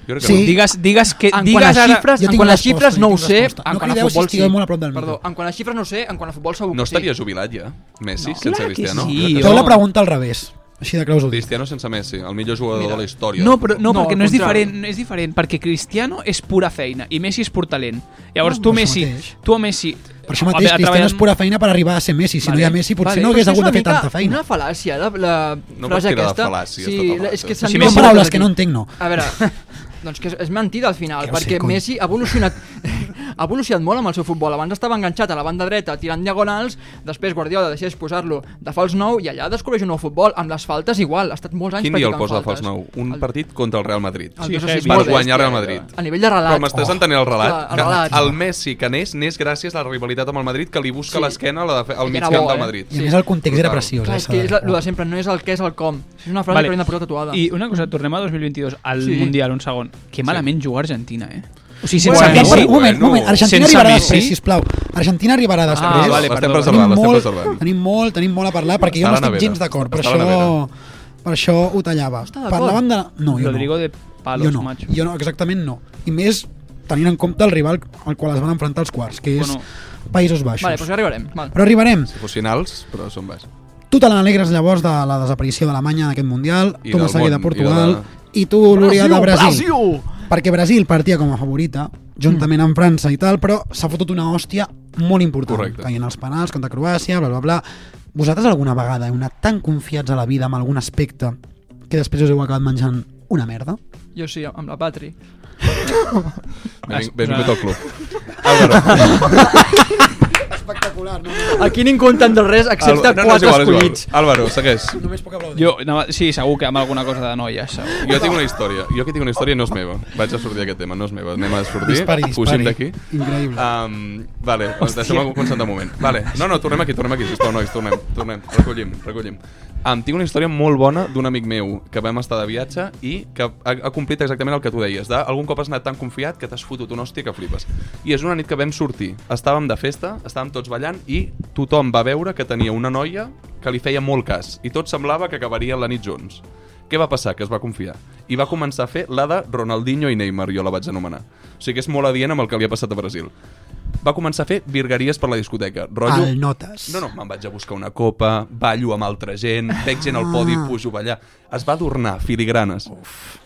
F: jo crec que
E: Sí.
F: no.
H: Digues, digues que...
G: en quant a
H: digues ara...
G: xifres,
E: Jo
G: en
E: tinc
G: quant a
E: resposta,
G: xifres
E: jo
G: no ho
E: tinc
G: sé,
E: resposta.
G: en
E: No
G: quant a
E: crideu si
G: futbol sí.
E: estigueu molt a prop del
G: Perdó,
E: micro.
G: en quant a xifres no ho sé, en quant a futbol segur
F: No
G: que sí.
F: estaria jubilat ja, Messi,
H: No.
F: sense
H: Clar que
F: Cristiano.
H: sí,
F: Crec que
E: Feu
H: jo.
E: la pregunta al revés, així de claus ho dic.
F: Cristiano sense Messi, el millor jugador
G: Mira.
F: de la història.
H: No, però,
G: No,
H: no, no, perquè
G: al
H: no és
G: contrari.
H: diferent, no és diferent, perquè Cristiano és pura feina i Messi és pur talent. Llavors
E: No,
H: tu,
E: per això
H: Messi,
E: mateix.
H: tu a Messi...
E: Per això mateix, Cristiano és pura feina per arribar a ser Messi. Si no hi ha Messi, potser no
G: Però
E: hagués
G: és
E: hagut
G: una
E: de fer
G: mica
E: tanta feina.
G: Una fal·làcia, la, la
F: No pots
G: frase
F: tirar de
G: aquesta.
F: fal·làcies
G: sí,
F: tota la
G: és que
F: rata.
G: se'n
H: Si
G: diu
E: Són
H: més
G: molt
E: paraules
G: d'aquí.
E: que no entenc, no.
G: A veure, doncs que és, és mentida al final,
E: Que ho sé,
G: perquè
E: cony.
G: Messi ha evolucionat, ha evolucionat molt amb el seu futbol. Abans estava enganxat a la banda dreta tirant diagonals, després Guardiola deixés posar-lo de fals nou i allà descobreix un nou futbol, amb les faltes igual, ha estat molts anys
F: Quin dia el
G: practicant
F: posa de
G: faltes.
F: fals nou? Un
G: El-
F: partit contra el Real Madrid.
G: el Dios
H: sí,
G: és
H: heavy.
G: molt
F: Per guanyar
G: bèstia,
F: Real Madrid.
G: A nivell de relat.
F: Però m'estàs
G: Oh.
F: entenent el relat?
G: Clar, el
F: Que
G: relat.
F: El Messi que n'és, n'és gràcies a la rivalitat amb el Madrid que li
G: Sí.
F: busca a l'esquena la defe- al
G: Era
F: mig
G: bo,
F: camp
G: eh?
F: del Madrid.
E: I a
G: Sí.
E: més el context era
F: Total.
E: preciós.
G: Clar,
E: eh,
G: és que és la,
E: Sara?
G: lo de sempre, no és el què, és el com. És una frase
H: Vale.
G: que hauríem de portar tatuada.
H: I una cosa, tornem a 2022, al
G: Sí.
H: sí. Mundial, un segon. Que malament sí. jugar Argentina, eh? O sigui, sense
E: Bueno,
H: bueno, Messi...
E: un moment, un moment.
F: Bueno.
E: Argentina
H: Sense
E: arribarà
H: Messi?
E: després, sisplau. Argentina arribarà després.
H: Ah, vale,
F: l'estem
H: perdó.
F: preservant,
E: tenim,
F: l'estem
E: molt,
F: preservant.
E: tenim molt, tenim molt a parlar, perquè
F: Està
E: jo
F: a
E: no
F: la
E: estic
F: nevera.
E: gens d'acord. Per,
F: Està a la
E: això, per això ho tallava.
G: Està d'acord?
E: Parlàvem de... No, jo
H: Rodrigo
E: no.
H: de Palos,
E: jo no,
H: macho.
E: jo no, exactament no. I més tenint en compte el rival al qual es van enfrontar els quarts, que és
H: Bueno.
E: Països Baixos.
G: Vale, doncs ja arribarem. Val.
E: Però arribarem.
F: Si fos finals, però són baix.
E: Tu te n'alegres llavors de la desaparició d'Alemanya en aquest Mundial,
F: I
E: tu
F: del
E: Massaguer
F: món,
E: de
F: i
E: Portugal, i, tu, Lúria, de Brasil. Perquè Brasil partia com a favorita,
F: Mm.
E: juntament amb França i tal, però s'ha fotut una hòstia molt important.
F: Correcte.
E: Caient als penals contra Croàcia, bla, bla, bla. Vosaltres alguna vegada heu anat tan confiats a la vida amb algun aspecte que després us heu acabat menjant una merda?
G: Jo sí, amb la Patri.
F: Benving-
H: Ah,
F: Benvingut
H: ah.
F: al club. Álvaro,
E: Espectacular, no?
G: Aquí ningú entén de res excepte
H: Ah,
F: Álvaro- no, no, és
G: quatre
F: igual, és igual.
G: escollits.
F: Álvaro, segueix.
E: Només puc aplaudir.
H: Jo, no, sí, segur que amb alguna cosa de noies, segur.
F: Jo tinc una història. Jo que tinc una història no és meva. Vaig a sortir d'aquest tema, no és meva. Anem a sortir,
E: Dispari,
F: fugim
E: dispari.
F: d'aquí.
E: Increïble.
F: Um, vale, doncs deixem-me concentrar un moment. Vale. No, no, tornem aquí, tornem aquí, sisplau, nois, tornem, tornem, recollim, recollim. Um, tinc una història molt bona d'un amic meu que vam estar de viatge i que ha, ha complit exactament el que tu deies. De, algun cop has anat tan confiat que t'has fotut una hòstia que flipes. I és una nit que vam sortir. Estàvem de festa, estàvem tots tots ballant i tothom va veure que tenia una noia que li feia molt cas i tot semblava que acabarien la nit junts. Què va passar? Que es va confiar. I va començar a fer la de Ronaldinho i Neymar, jo la vaig anomenar. O sigui que és molt adient amb el que li ha passat a Brasil. Va començar a fer virgueries per la discoteca. Rotllo...
E: Al Notes.
F: No, no, me'n vaig a buscar una copa, ballo amb altra gent, veig gent al podi,
E: Ah.
F: pujo a ballar. Es va adornar filigranes.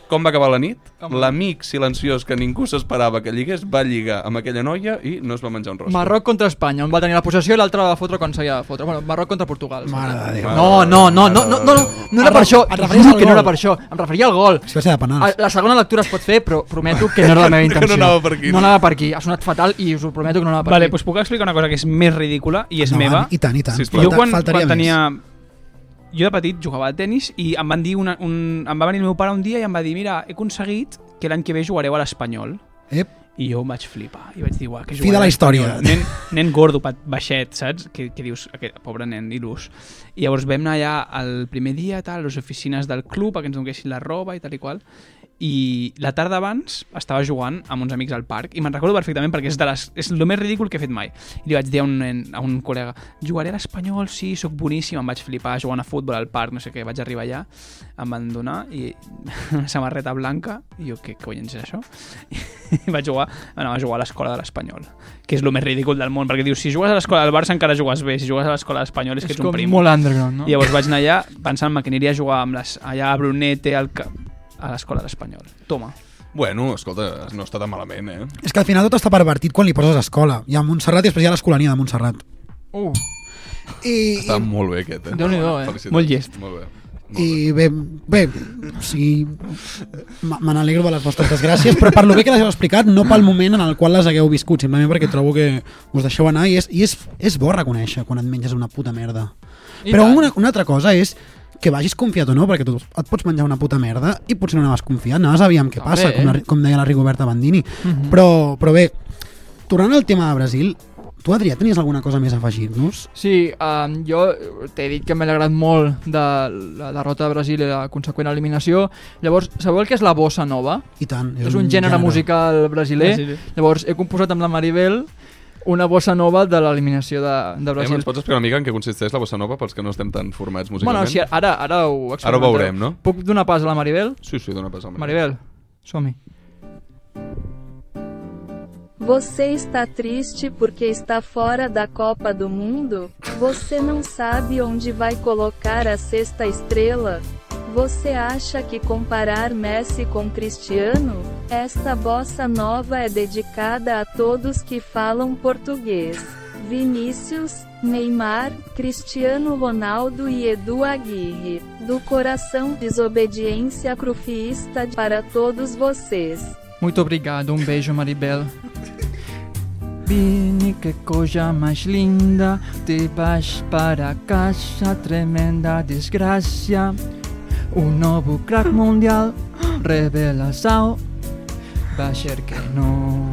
F: Com va acabar la nit? L'amic silenciós que ningú s'esperava que lligués va lligar amb aquella noia i no es va menjar un rostre.
G: Marroc contra Espanya, on va tenir la possessió i l'altre va fotre quan s'havia de fotre. Bueno, Marroc contra Portugal.
E: Mare de Déu.
G: No, no, no, no, no, no, no, no era
E: Et
G: per
E: re-
G: això.
E: et referies al
G: que no era
E: gol.
G: per això. Em referia al gol.
E: Si va ser de penals.
G: A- La segona lectura es pot fer, però prometo que no era la meva
F: Que no
G: intenció.
F: anava per aquí.
G: No anava per aquí. Ha sonat fatal i us ho prometo que no anava per
H: Vale,
G: aquí.
H: doncs puc explicar una cosa que és més ridícula i és
E: Endavant.
H: meva.
E: I tant, i tant.
F: Sisplau.
H: Jo
E: Falta-
H: quan,
E: faltaria
H: quan
E: més.
H: tenia... Jo de petit jugava a tennis i em van dir una, un, em va venir el meu pare un dia i em va dir mira, he aconseguit que l'any que ve jugareu a l'Espanyol.
E: Ep,
H: I jo em vaig flipar. I vaig dir, uah, que
E: Fi de la història.
H: Nen, nen gordo, pat, baixet, saps? Que, que dius, aquest pobre nen, il·lus. I llavors vam anar allà el primer dia, tal, a les oficines del club, perquè ens donessin la roba i tal i qual. I la tarda abans estava jugant amb uns amics al parc i me'n recordo perfectament perquè és, de les, és el més ridícul que he fet mai. I li vaig dir a un, nen, a un col·lega, jugaré a l'Espanyol, sí, sóc boníssim, em vaig flipar jugant a futbol al parc, no sé què, vaig arribar allà, em van donar i una samarreta blanca, i jo, què collons és això? i va jugar, anava a jugar a l'escola de l'Espanyol, que és el més ridícul del món, perquè dius, si jugues a l'escola del Barça encara jugues bé, si jugues a l'escola de l'Espanyol és, que
G: És
H: ets un
G: com
H: prim.
G: molt underground, no?
H: I llavors vaig anar allà pensant-me que aniria a jugar amb les, allà a Brunete, al, ca- a l'escola de l'Espanyol. Toma.
F: Bueno, escolta, no està tan malament, eh?
E: És que al final tot està pervertit quan li poses escola. I a Montserrat i després hi ha l'escolania de Montserrat.
G: Uh,
E: I,
F: Està molt bé aquest, eh?
G: Déu-n'hi-do, eh?
F: Felicitats.
H: Molt llest.
F: Molt bé. Molt
E: i
F: bé. Eh,
E: bé, bé, o sigui, me me n'alegro de les vostres desgràcies, però per lo bé que les heu explicat, no pel moment en el qual les hagueu viscut, simplement perquè trobo que us deixeu anar i és, i és, és bo reconèixer quan et menges una puta merda.
G: I
E: però
G: tant.
E: una, una altra cosa és que vagis confiat o no, perquè tu et pots menjar una puta merda i potser no anaves confiat, anaves aviam què
G: També,
E: passa, com, la,
G: eh? Mhm.
E: com deia la Rigoberta Bandini. però, però bé, tornant al tema de Brasil, tu, Adrià, tenies alguna cosa més a afegir-nos?
G: Sí, um, jo t'he dit que m'ha agradat molt de la derrota de Brasil i la conseqüent eliminació. Llavors, sabeu el que és la bossa nova?
E: I tant.
G: És un gènere musical brasiler.
H: Brasiler.
G: Llavors, he composat amb la Maribel una bossa nova de l'eliminació de, de
F: Em,
G: Brasil.
F: ens pots explicar una mica en què consisteix la bossa nova pels que no estem tan formats
G: bueno,
F: musicalment?
G: si ara, ara ho experimentem.
F: Ara ho veurem, no?
G: Puc donar pas a la Maribel?
F: Sí, sí, dona pas al
G: Maribel, som-hi.
I: Você está triste porque está fora da Copa do Mundo? Você não sabe onde vai colocar a sexta estrela? Você acha que comparar Messi com Cristiano? Esta bossa nova é dedicada a todos que falam português. Vinícius, Neymar, Cristiano Ronaldo e Edu Aguirre. Do coração desobediência crufiista para todos vocês.
G: Muito obrigado, um beijo, Maribel. Vini, que coisa mais linda, te vas para casa, tremenda desgraça. O novo crack mundial, revelação, vai ser que não.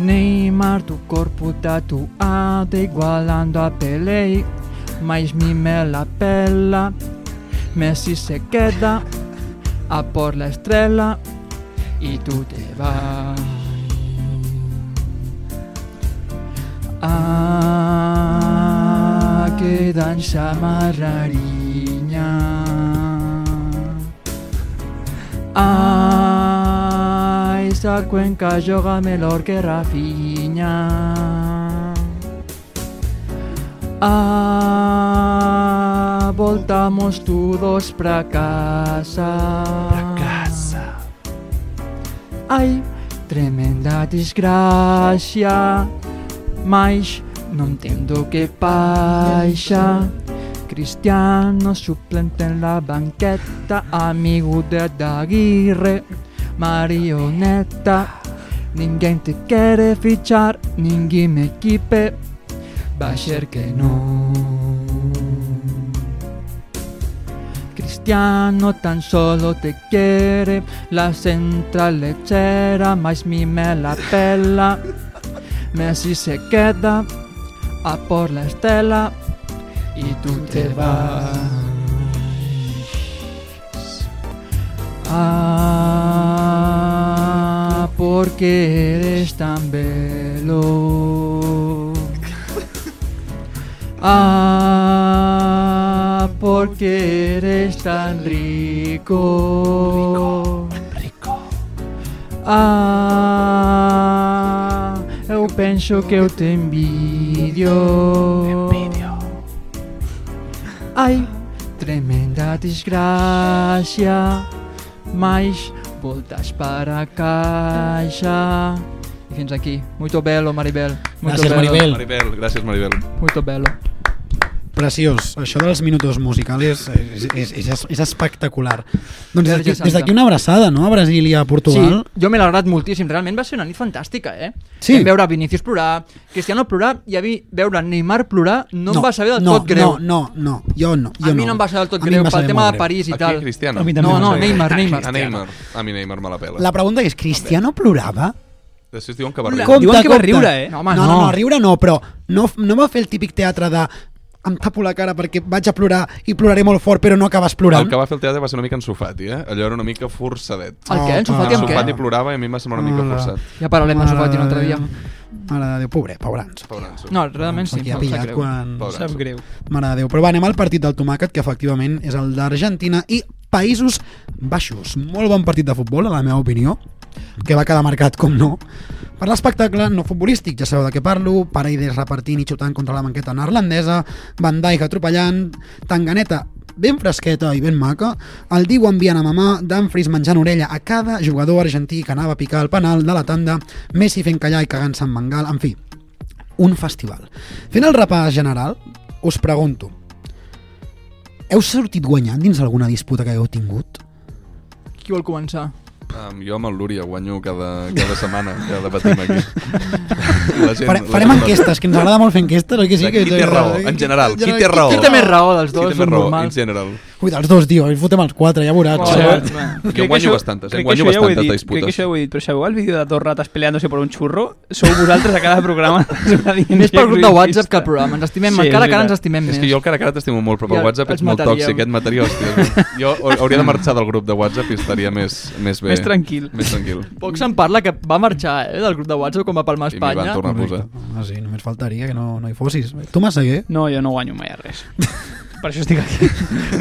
G: Neymar, do corpo tatuado, igualando a Pelé, mas me mela pela, Messi se queda. a por la estrella y tú te vas. Ah, que dansa marrariña. Ah, esa cuenca yoga melor que Rafiña. Ah, voltamos todos pra casa. Pra casa. Ai, tremenda desgraça. Mas não entendo que paixa. Cristiano suplente en la banqueta, amigo de Daguirre, marioneta. Ninguém te quer fichar, ninguém me equipe. Va a ser que no. Cristiano tan solo te quiere, la central lechera, mas mi me la pela. Messi se queda a por la estela y tú te vas. Ah, por porque eres tan veloz. Ah, porque eres tan rico. Ah, eu penso que eu te envidio. Ai, tremenda desgraça. Mas voltas para a caixa. E fins aquí. Muito belo, Maribel. Muito
J: Gràcies,
G: belo.
J: Maribel.
F: Maribel, gràcies, Maribel.
G: Muito belo.
E: Preciós. Això dels minutos musicals és, és, és, és espectacular. Doncs des d'aquí-
G: Verge Santa.
E: des d'aquí una abraçada, no?, a Brasil i a Portugal.
G: Sí, jo me l'he agradat moltíssim. Realment va ser una nit fantàstica, eh?
E: Sí.
G: Vam veure Vinicius plorar, Cristiano plorar, i a mi veure Neymar plorar no, em va saber del
E: no,
G: tot greu.
E: No, no, no, jo no. Jo
G: a mi no em va saber del tot
E: A mi
G: greu
E: em va
G: pel
E: saber
G: tema
E: molt
G: de
E: greu.
G: París i
F: Aquí,
G: tal.
F: Cristiano.
H: A mi també
G: No,
H: em
G: no,
H: va saber
G: Neymar, Neymar.
F: A Neymar. A mi Neymar me la pela.
E: La pregunta és, Cristiano plorava?
F: Després diuen que va riure.
E: Compte,
H: Diuen que va
E: compte.
H: riure, eh?
G: No,
E: No,
G: home,
E: no, no,
G: no.
E: no, riure no, però no, no va fer el típic teatre de em tapo la cara perquè vaig a plorar i ploraré molt fort però no acabes plorant.
F: El que va fer el teatre va ser una mica ensofati, eh? Allò era una mica forçadet.
G: El què? En Sofati
E: Ah.
G: amb
F: Ensofati
G: què?
F: plorava i a mi em va semblar una mica
E: Hola.
F: forçat.
G: Ja parlarem de Sofati un altre dia.
E: Mare de Déu, pobre, pobranço.
F: Pobre Anso.
G: No, realment sí.
E: Aquí ha
G: em sap
E: pillat
G: greu.
E: quan...
F: Pobre
H: Sap
F: Anso.
H: greu.
E: Mare de Déu. Però va, anem al partit del tomàquet, que efectivament és el d'Argentina i Països Baixos. Molt bon partit de futbol, a la meva opinió, que va quedar marcat, com no, per l'espectacle no futbolístic, ja sabeu de què parlo, Paredes repartint i xutant contra la banqueta neerlandesa, Van Dijk atropellant, Tanganeta ben fresqueta i ben maca, el Diu enviant a mamà, Dumfries menjant orella a cada jugador argentí que anava a picar el penal de la tanda, Messi fent callar i cagant-se en Mangal, en fi, un festival. Fent el repàs general, us pregunto, heu sortit guanyant dins alguna disputa que heu tingut?
G: Qui vol començar?
F: Um, jo amb el Lúria guanyo cada, cada setmana que debatim aquí. La gent,
E: Fare,
F: la
E: farem
F: gent-
E: enquestes, que ens agrada molt fer enquestes, oi que sí?
F: De
E: que
F: qui té raó, en general, qui té raó?
G: Qui té més raó dels
F: Sí,
G: dos?
F: té més
G: Són
F: raó, en
G: normals.
F: general.
E: Ui, dels dos, tio, ens fotem els quatre, ja veuràs.
G: Oh.
E: Oh.
G: Xavi.
H: Crec
F: Jo
H: que
F: guanyo
H: això-
F: bastantes, eh?
H: crec que
F: Guanyo
H: això ja ho he
F: bastantes
H: dit,
F: disputes.
H: Crec que això ja ho he dit, però sabeu el vídeo de dos rates peleándose por un churro? Sou vosaltres a cada programa.
G: Més pel grup de WhatsApp que el programa. Ens estimem,
H: Sí, és
G: encara que ara
H: veritat.
G: ens estimem
F: És
G: més.
F: que jo el cara a cara t'estimo molt, però pel
G: Ja,
F: WhatsApp
G: ens
F: ets molt
G: mataríem.
F: tòxic, eh, et mataria, hòstia. Jo ha- hauria de marxar del grup de WhatsApp i estaria més, més bé.
H: Més tranquil.
F: Més tranquil.
G: Poc se'n parla que va marxar eh, del grup de WhatsApp com va palmar a
F: I m'hi van
G: Espanya.
F: tornar a posar.
E: Ah, sí, només faltaria que no, no hi fossis. Tu, Massaguer,
H: No, jo no guanyo mai a res. per això estic aquí.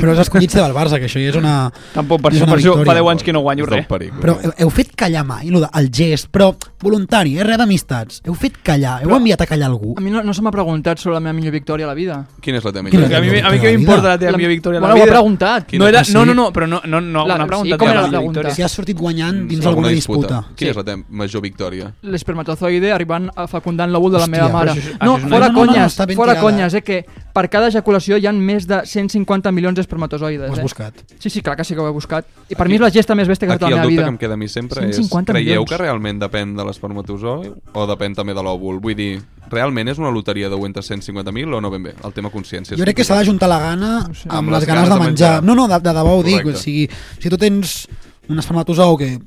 E: però has escollit ser del Barça, que això ja és una...
H: Tampoc, per
E: És
H: això,
E: una
H: per això fa
E: victòria.
H: 10 anys que no guanyo
F: És del
H: res.
F: Perico.
E: Però heu, heu fet callar mai, lo de, el gest, però voluntari, eh, res d'amistats. Heu fet callar, heu enviat a callar algú.
G: A mi no, no se m'ha preguntat sobre la meva millor victòria a la vida.
F: Quina és la teva
E: Quina
F: millor?
H: Que a mi, a mi
E: Tota
H: què
E: la
H: m'importa
E: vida.
H: la teva millor victòria de la
G: Bueno, ho ha
H: vida?
G: preguntat.
F: Quina-
H: No, era,
E: Ah, sí?
H: no, no, no, però no, no, no,
G: La-
H: una
G: sí,
H: pregunta.
G: com
H: teva
G: era
H: de
G: la
H: victòria.
G: pregunta?
E: Si has sortit guanyant dins alguna disputa.
F: Quina és la teva major victòria?
G: L'espermatozoide arribant a fecundant l'òvul de la
E: Hòstia,
G: meva mare.
E: però
H: això és-
G: no,
H: això és una-
E: No, no,
G: fora
E: no, no,
G: conyes,
E: està ben
G: fora
E: tirada.
G: conyes, eh, que per cada ejaculació hi han més de 150 milions d'espermatozoides.
E: Ho has
G: eh?
E: buscat.
G: Sí, sí, clar que sí que ho he buscat. I per mi és la gesta més bèstia que he fet
F: Aquí
G: a
F: el
G: la meva
F: dubte
G: vida.
F: que em queda a mi sempre és,
G: 150
F: creieu
G: milions.
F: que realment depèn de l'espermatozoi o depèn també de l'òvul? Vull dir, realment és una loteria de 150.000 o no ben bé? El tema consciència. és
E: Jo crec que s'ha d'ajuntar la gana
G: sé.
E: amb les ganes de menjar. No, no, de, de debò ho dic. O
F: Correcte.
E: sigui, si tu tens un espermatozou que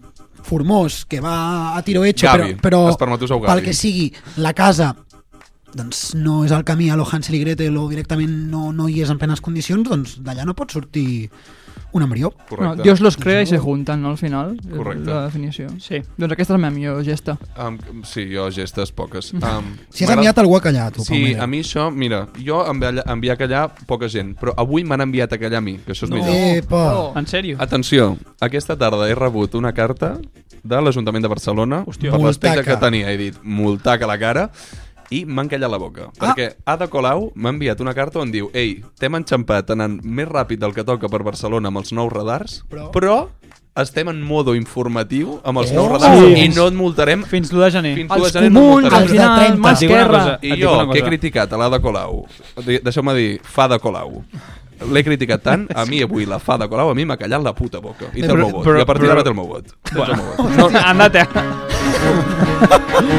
E: formós, que va a tiro hecho,
F: Gavi.
E: però, però
F: Espermatozou Gavi.
E: pel que sigui, la casa doncs no és el camí a lo Hansel i Gretel o directament no, no hi és en plenes condicions, doncs d'allà no pot sortir un embrió.
G: No,
F: Correcte.
G: Dios los crea i se juntan, no, al final? És
F: Correcte.
G: La definició.
H: Sí.
G: Doncs aquesta és la meva millor gesta.
F: Um, sí, jo gestes poques. Um,
E: Mm. Si has enviat algú a callar, tu,
F: Sí,
E: Palmera.
F: a mi això, mira, jo enviar, enviar a callar poca gent, però avui m'han enviat a callar a mi, que això és no. millor.
E: Epa.
G: No.
H: En sèrio?
F: Atenció, aquesta tarda he rebut una carta de l'Ajuntament de Barcelona Hòstia, per l'aspecte
E: Multaca.
F: que tenia. He dit multaca la cara i m'han callat la boca. Ah. Perquè Ada Colau m'ha enviat una carta on diu «Ei, t'hem enxampat anant més ràpid del que toca per Barcelona amb els nous radars, però, però estem en modo informatiu amb els oh. nous radars
H: Sí.
F: i no et multarem
H: Fins l'1 de gener.
F: Fins
G: Els
F: l'u de gener no et
G: comuns,
F: multarem.
G: al
E: Els de
G: final,
E: 30.
G: mà
H: Et dic una
G: esquerra.
F: I
H: cosa. Ah, Et dic
F: jo,
H: una
F: que he
H: cosa.
F: criticat a l'Ada Colau, de- deixeu-me dir, fa de Colau, l'he criticat tant, a mi avui la fa de Colau, a mi m'ha callat la puta boca. I té el
H: Eh, Però-
F: meu vot.
H: però-
F: I a partir d'ara
H: però-
F: té el meu vot. Tens el meu vot.
H: No, andate.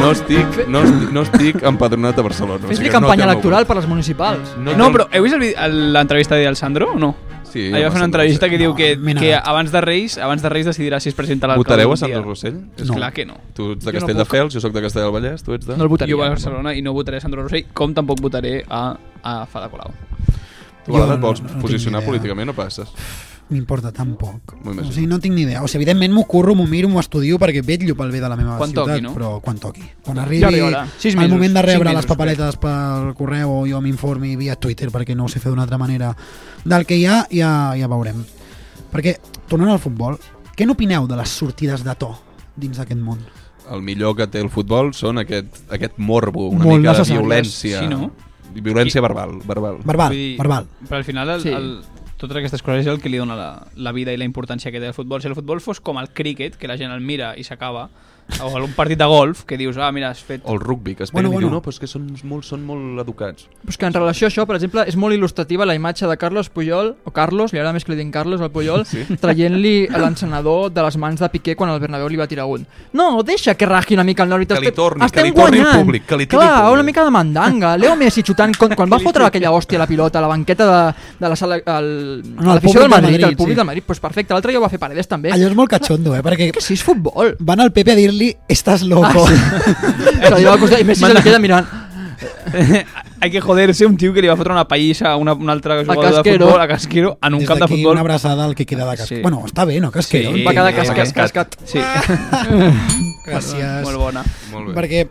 F: No estic, no estic, no estic empadronat a Barcelona. o
G: Fes-li
F: sigui,
G: campanya
F: no té el meu
G: electoral
F: vot.
G: per les municipals.
F: No,
H: No, però heu vist el vi- el- l'entrevista del Sandro o no?
F: Sí,
H: Ahir va
F: home,
H: fer una
F: Sandro
H: entrevista
F: Rosell.
H: que diu que,
E: m'he
H: que
E: negat.
H: abans de Reis abans de Reis decidirà si es presenta a l'alcalde.
F: Votareu a
H: un dia.
F: Sandro Rossell? És
E: No.
H: Clar que no.
F: Tu ets de
G: Jo no
F: Castelldefels, jo sóc de Castell del Vallès, tu ets de...
G: No el votaria.
H: Jo vaig a Barcelona i no votaré a Sandro Rossell, com tampoc votaré a, a Fada Colau.
F: Tu a vegades
E: Jo no-
F: vols
E: no tinc
F: posicionar
E: idea.
F: políticament o passes?
E: m'importa tan poc.
F: M'ho
E: O
F: imagino.
E: sigui, no tinc ni idea. O sigui, evidentment m'ho curro, m'ho miro, m'ho estudio perquè vetllo pel bé de la meva
H: Quan
E: ciutat,
H: toqui, no?
E: però quan toqui. Quan
H: Ja
E: arribi
H: arribarà. Sis
E: el
H: mesos.
E: moment de
H: Cinc
E: rebre
H: mesos,
E: les papeletes pel correu o jo m'informi via Twitter perquè no ho sé fer d'una altra manera del que hi ha, ja, ja veurem. Perquè, tornant al futbol, què n'opineu de les sortides de to dins d'aquest món?
F: El millor que té el futbol són aquest, aquest morbo, una
E: Molt
F: mica de
E: necessàries,
F: violència.
H: sí, no?
F: Violència verbal, verbal.
E: Verbal,
H: Vull dir,
E: verbal.
H: Però al final, el,
G: Sí.
H: sí. el, totes aquestes coses és el que li dona la, la vida i la importància que té el futbol. Si el futbol fos com el críquet, que la gent el mira i s'acaba, o un partit de golf, que dius, ah, mira, has fet...
F: O el rugby, que es
E: Bueno,
F: bueno,
E: bueno.
F: bueno. diu, no, però és que són molt, són molt educats.
G: Però és que en relació a això, per exemple, és molt il·lustrativa la imatge de Carlos Puyol, o Carlos, li agrada més que li diguin Carlos al Puyol, sí. traient-li l'encenador de les mans de Piqué quan el Bernabéu li va tirar un. No, deixa que raji una mica el Norwich.
F: Que li
G: estem-
F: torni, que
G: estem
F: li torni el
G: guanyant.
F: públic, que li tiri el
G: Clar,
F: públic.
G: una mica de mandanga. Leo Messi xutant, quan, quan va fotre aquella hòstia a la pilota, a la banqueta de, de la sala, al,
E: No,
G: no,
E: al
G: la del
E: públic de
G: Madrid,
E: Madrid,
G: el públic
E: sí.
G: del Madrid, doncs perfecte. L'altre dia ho va fer Paredes també.
E: Allò és molt catxondo, eh? Perquè
G: Que sí, és futbol.
E: van al Pepe a dir-li «Estàs loco».
H: Ah,
G: Que li va costar, I Messi se li queda mirant.
H: Hay que joderse un tio que li va fotre una pallissa a una, un altre jugador de
G: Casquero.
H: futbol, a Casquero, en un
E: Des
H: camp de
E: d'aquí
H: futbol.
E: una abraçada al que queda de casquet.
H: Sí.
E: Bueno, està bé, no? Casquet.
H: Sí.
G: Va quedar
H: Eh,
G: cascat, cascat.
H: Sí,
E: Ah, Gràcies.
H: molt bona.
F: Molt bé.
E: Perquè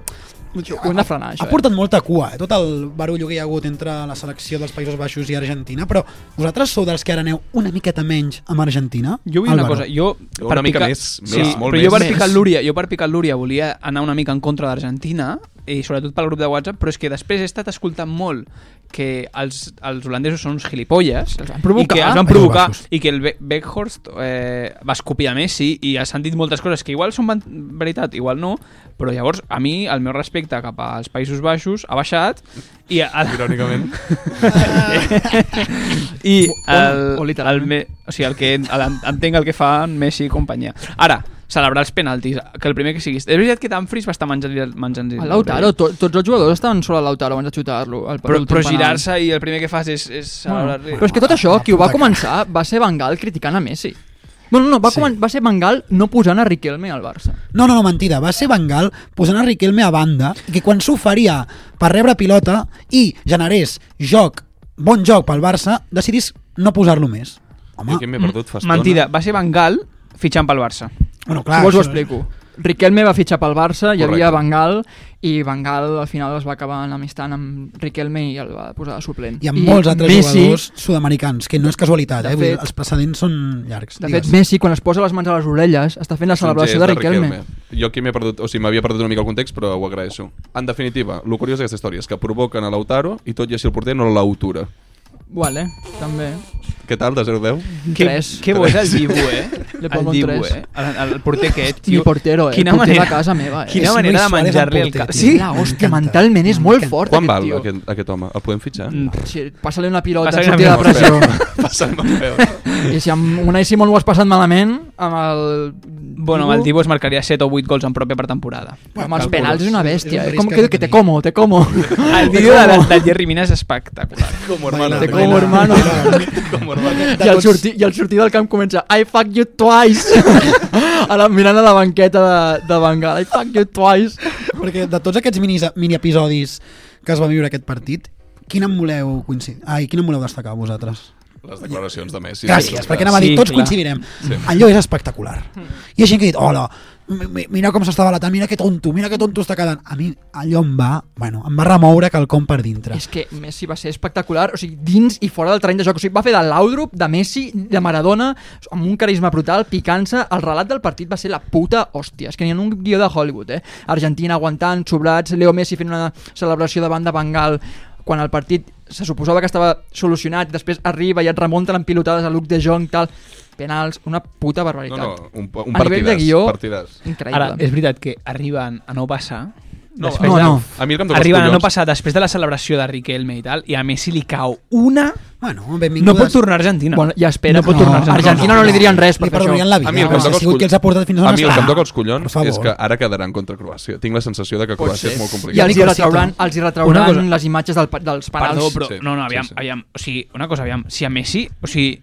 G: Ho hem de frenar, això.
E: ha portat molta cua, eh? tot el barullo que hi ha hagut entre la selecció dels Països Baixos i Argentina, però vosaltres sou dels que ara aneu una miqueta menys amb Argentina?
H: Jo vull
G: Ah,
H: dir
E: Al
H: una
E: Baró.
H: cosa, jo...
F: Jo una mica més,
H: sí,
F: més, molt
H: però jo
F: més.
H: per picar
E: Més.
H: l'Úria, jo per picar l'Úria volia anar una mica en contra d'Argentina, i sobretot pel grup de WhatsApp, però és que després he estat escoltant molt que els, els holandesos són uns gilipolles
G: els van provocar. eh?
H: i que els van
E: Països
H: provocar
E: Baixos.
H: i que el Be Beckhorst eh, va escopir a Messi i ja s'han dit moltes coses que igual són van- veritat, igual no però llavors a mi el meu respecte cap als Països Baixos ha baixat i a, a,
F: Irònicament.
H: i
G: O-
H: el,
G: o
H: el,
G: literalment.
H: me, o sigui, el que el- entenc el que fan Messi i companyia. Ara, celebrar els penaltis, que el primer que siguis. És veritat que Danfries va estar menjant menjant
G: A Lautaro, to, tots els jugadors estaven sobre Lautaro abans de xutar-lo. el-
H: però,
G: l'últim
H: però
G: penal.
H: girar-se i el primer que fas és, és celebrar
G: Però és que tot això, qui ho va començar va ser Bengal criticant a Messi. Bueno, no, va,
E: Sí.
G: sí. va ser Bengal no posant a Riquelme al Barça.
E: No, no, no, mentida. Va ser Bengal posant a Riquelme a banda, que quan s'ho faria per rebre pilota i generés joc, bon joc pel Barça, decidís no posar-lo més.
F: Jo
E: Home,
F: aquí m'he perdut
G: mm,
F: fa estona.
H: Mentida, va ser Bengal fitxant pel Barça.
E: bueno, clar...
G: Clar, si vols ho
E: això-
G: explico. Riquelme va fitxar pel Barça, hi havia
F: Correcte.
G: Bengal, i Bengal al final es va acabar enamistant amb Riquelme i el va posar de suplent.
E: eh? Hi ha molts altres
G: Messi,
E: jugadors sud-americans, que no és casualitat,
G: De
E: eh? Vull dir,
G: fet-
E: els precedents són llargs.
G: De fet,
E: digues.
G: Messi, quan es posa les mans a les orelles, està fent la
F: És un
G: celebració
F: gest
G: de Riquelme.
F: Jo aquí m'he perdut, o sigui, m'havia perdut una mica el context, però ho agraeixo. En definitiva, el curiós d'aquesta història és que provoquen a Lautaro i tot i així el porter no l'autura.
G: Vale, també.
F: Què tal, de 0-10?
H: Que,
G: Tres.
H: que bo és el Dibu, eh?
G: Le
H: El
G: pongo un
H: Dibu,
G: tres.
H: eh? El, el porter aquest,
G: Mi
H: tio.
G: portero, eh?
H: Quina
G: Porter de
H: manera,
G: casa meva, eh?
H: Quina
E: És
H: manera de
E: Luis Suárez
H: menjar-li
E: en
H: el
E: porter,
H: cap.
E: tio.
H: Sí,
G: La hòstia,
E: M'encanta.
G: mentalment és molt
E: M'encanta.
G: fort,
F: Quan
G: aquest
F: val
G: tio.
F: aquest, aquest home? El podem fitxar?
H: Mm.
G: Sí, passa-li una pilota,
H: Passa-li una
G: sortir de
H: pilota.
G: pressió.
F: Passa'm el peu.
G: I si amb Unai Simón ho has passat malament, amb el...
H: Bueno, amb el Dibu es marcaria 7 o 8 gols en pròpia per temporada.
G: Amb els penals és una bèstia.
E: És un
G: eh? Com
E: risc
G: que,
E: que
G: que te
E: tenim.
G: como, te como.
H: El vídeo de, de, de Jerry Mina és espectacular.
F: Com
E: Baila,
F: hermano.
G: Te como,
E: baila,
G: hermano.
E: baila.
F: Com hermano.
G: I al, sortir, I al sortir del camp comença I fuck you twice a la, Mirant a la banqueta de, de Bengala I fuck you twice
E: Perquè de tots aquests mini, mini episodis que es va viure aquest partit, quin en voleu coincidir? Ai, quin en voleu destacar vosaltres?
F: Les declaracions de Messi.
E: Gràcies, perquè anava a
H: Sí,
E: dir, tots
H: clar.
E: coincidirem. Allò és espectacular. Hi ha gent que ha dit, hola, mi- mi- mira com s'està balatant, mira que tonto, mira que tonto està quedant. A mi allò em va, bueno, em va remoure quelcom per dintre.
G: És que Messi va ser espectacular, o sigui, dins i fora del terreny de joc. O sigui, va fer de Laudrup, de Messi, de Maradona, amb un carisma brutal, picant-se. El relat del partit va ser la puta hòstia. És que n'hi ha un guió de Hollywood, eh? Argentina aguantant, sobrats, Leo Messi fent una celebració davant de Bengal quan el partit se suposava que estava solucionat, després arriba i et remunten amb pilotades a Luke de Jong, tal, penals, una puta
F: No,
G: barbaritat.
F: no, un, un
G: A nivell de
F: partidàs.
G: guió-
F: Partidàs.
G: Increïble.
H: Ara, és veritat que arriben a no passar...
F: No,
H: després
G: no,
H: de-
G: no.
F: A mi el que em toca els
H: Arriben a no
F: collons-
H: passar després de la celebració de Riquelme i tal, i a Messi li cau una...
E: Bueno,
H: No
E: benvingudes.
H: pot tornar a Argentina.
G: Bueno, ja espera.
H: No pot tornar a
G: No,
H: Argentina.
G: Argentina no li dirien res per
E: Li
G: fer això.
E: perdonarien la vida.
F: A mi el que em
E: home,
F: toca
E: ha
F: els
E: sigut qui els ha portat fins on
F: A mi el que
E: està.
F: em toca els
E: Per
F: collons
E: favor.
F: és que ara quedaran contra Croàcia. Tinc la sensació de que Croàcia és molt
G: I
F: complicat.
G: els hi retrauran, els hi
H: Una cosa-
G: retrauran les imatges del, pa- dels penals.
H: Perdó, però...
F: Sí,
H: no, no,
F: sí,
H: aviam,
F: sí.
H: aviam. O sigui, una cosa, aviam. Si a Messi... O sigui,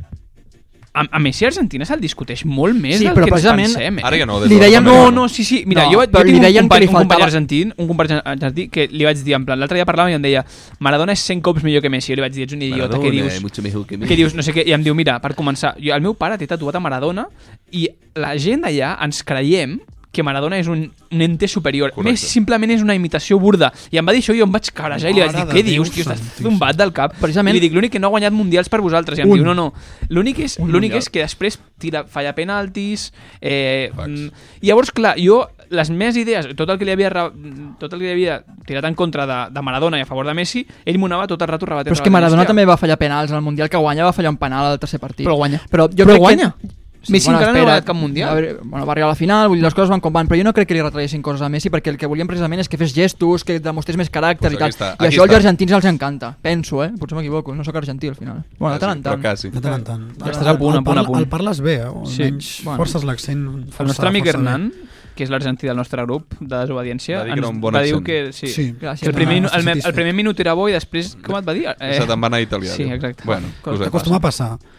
H: a, a Messi a Argentina se'l discuteix molt més
G: Sí,
H: del
G: però
H: que ens
G: precisament-
H: pensem. Eh?
F: Ara ja no, des
G: Li
F: de
G: deien-
F: la pandèmia
H: No, no, sí, sí. Mira,
G: No,
H: jo, jo
G: però li
H: tinc un,
G: deien que
H: company,
G: li
H: un company
G: faltava-
H: argentin, un company argentí que li vaig dir, en plan, l'altre dia parlàvem i em deia Maradona és 100 cops millor que Messi. Jo li vaig dir, ets un idiota, què dius? que dius, no sé què, i em diu, mira, per començar, jo, el meu pare té tatuat a Maradona i la gent d'allà ens creiem que Maradona és un, un ente superior.
F: Correcte.
H: Correcte. Més simplement és una imitació burda. I em va dir això i jo em vaig carejar i li vaig dir,
E: Mare de
H: què
E: Déu
H: dius, tio, estàs
E: santíssim."
H: tombat del cap.
G: Precisament-
H: I li dic, l'únic que no ha guanyat mundials per vosaltres. I em
E: Un.
H: diu, no, no. L'únic és,
G: Un
H: l'únic
G: mundial.
H: és que després tira, falla penaltis... Eh,
F: Facts.
H: mm, llavors, clar, jo les meves idees, tot el que li havia, ra- tot el que li havia tirat en contra de, de Maradona i a favor de Messi, ell m'ho anava tot el rato rebatent.
G: Però és que Maradona també va fallar penals al Mundial que guanya, va fallar un penal al tercer partit.
H: Però guanya.
G: Però jo
H: Però
G: crec
H: guanya.
G: Que...
H: Messi encara no ha
G: espera.
H: guanyat cap Mundial.
G: A veure, bueno, va arribar a la final, vull dir, les coses van com van, però jo no crec que li retraiessin coses a Messi perquè el que volien precisament és que fes gestos, que demostrés més caràcter
F: Doncs
G: i tal.
F: aquí està,
G: I
F: aquí
G: això als
F: està.
G: argentins els encanta, penso, eh? Potser m'equivoco, no sóc argentí al final. Bueno,
H: Ah,
G: de tant en tant.
F: Però quasi.
E: De tant en tant.
H: Ja estàs a punt,
E: El
H: a punt, a
E: parla-
H: punt.
E: El parles bé, eh? O
H: Sí,
E: almenys
G: bueno.
E: forces l'accent.
H: El
E: força-
H: nostre amic
E: força bé.
H: Hernán, que és l'argentí del nostre grup de desobediència,
F: Va dir que era un bon
H: va dir
F: accent.
H: que, sí,
E: Sí.
H: Gràcies,
G: Sí,
H: el, primer,
E: no,
H: el, me-
E: satisfet.
H: el primer minut era bo i després, com et va dir?
F: Eh. Se te'n va anar a Itàlia.
H: Sí,
F: diu.
H: exacte.
F: Bueno,
H: Cosa-
F: coses
E: Acostuma a
F: passen.
E: passar.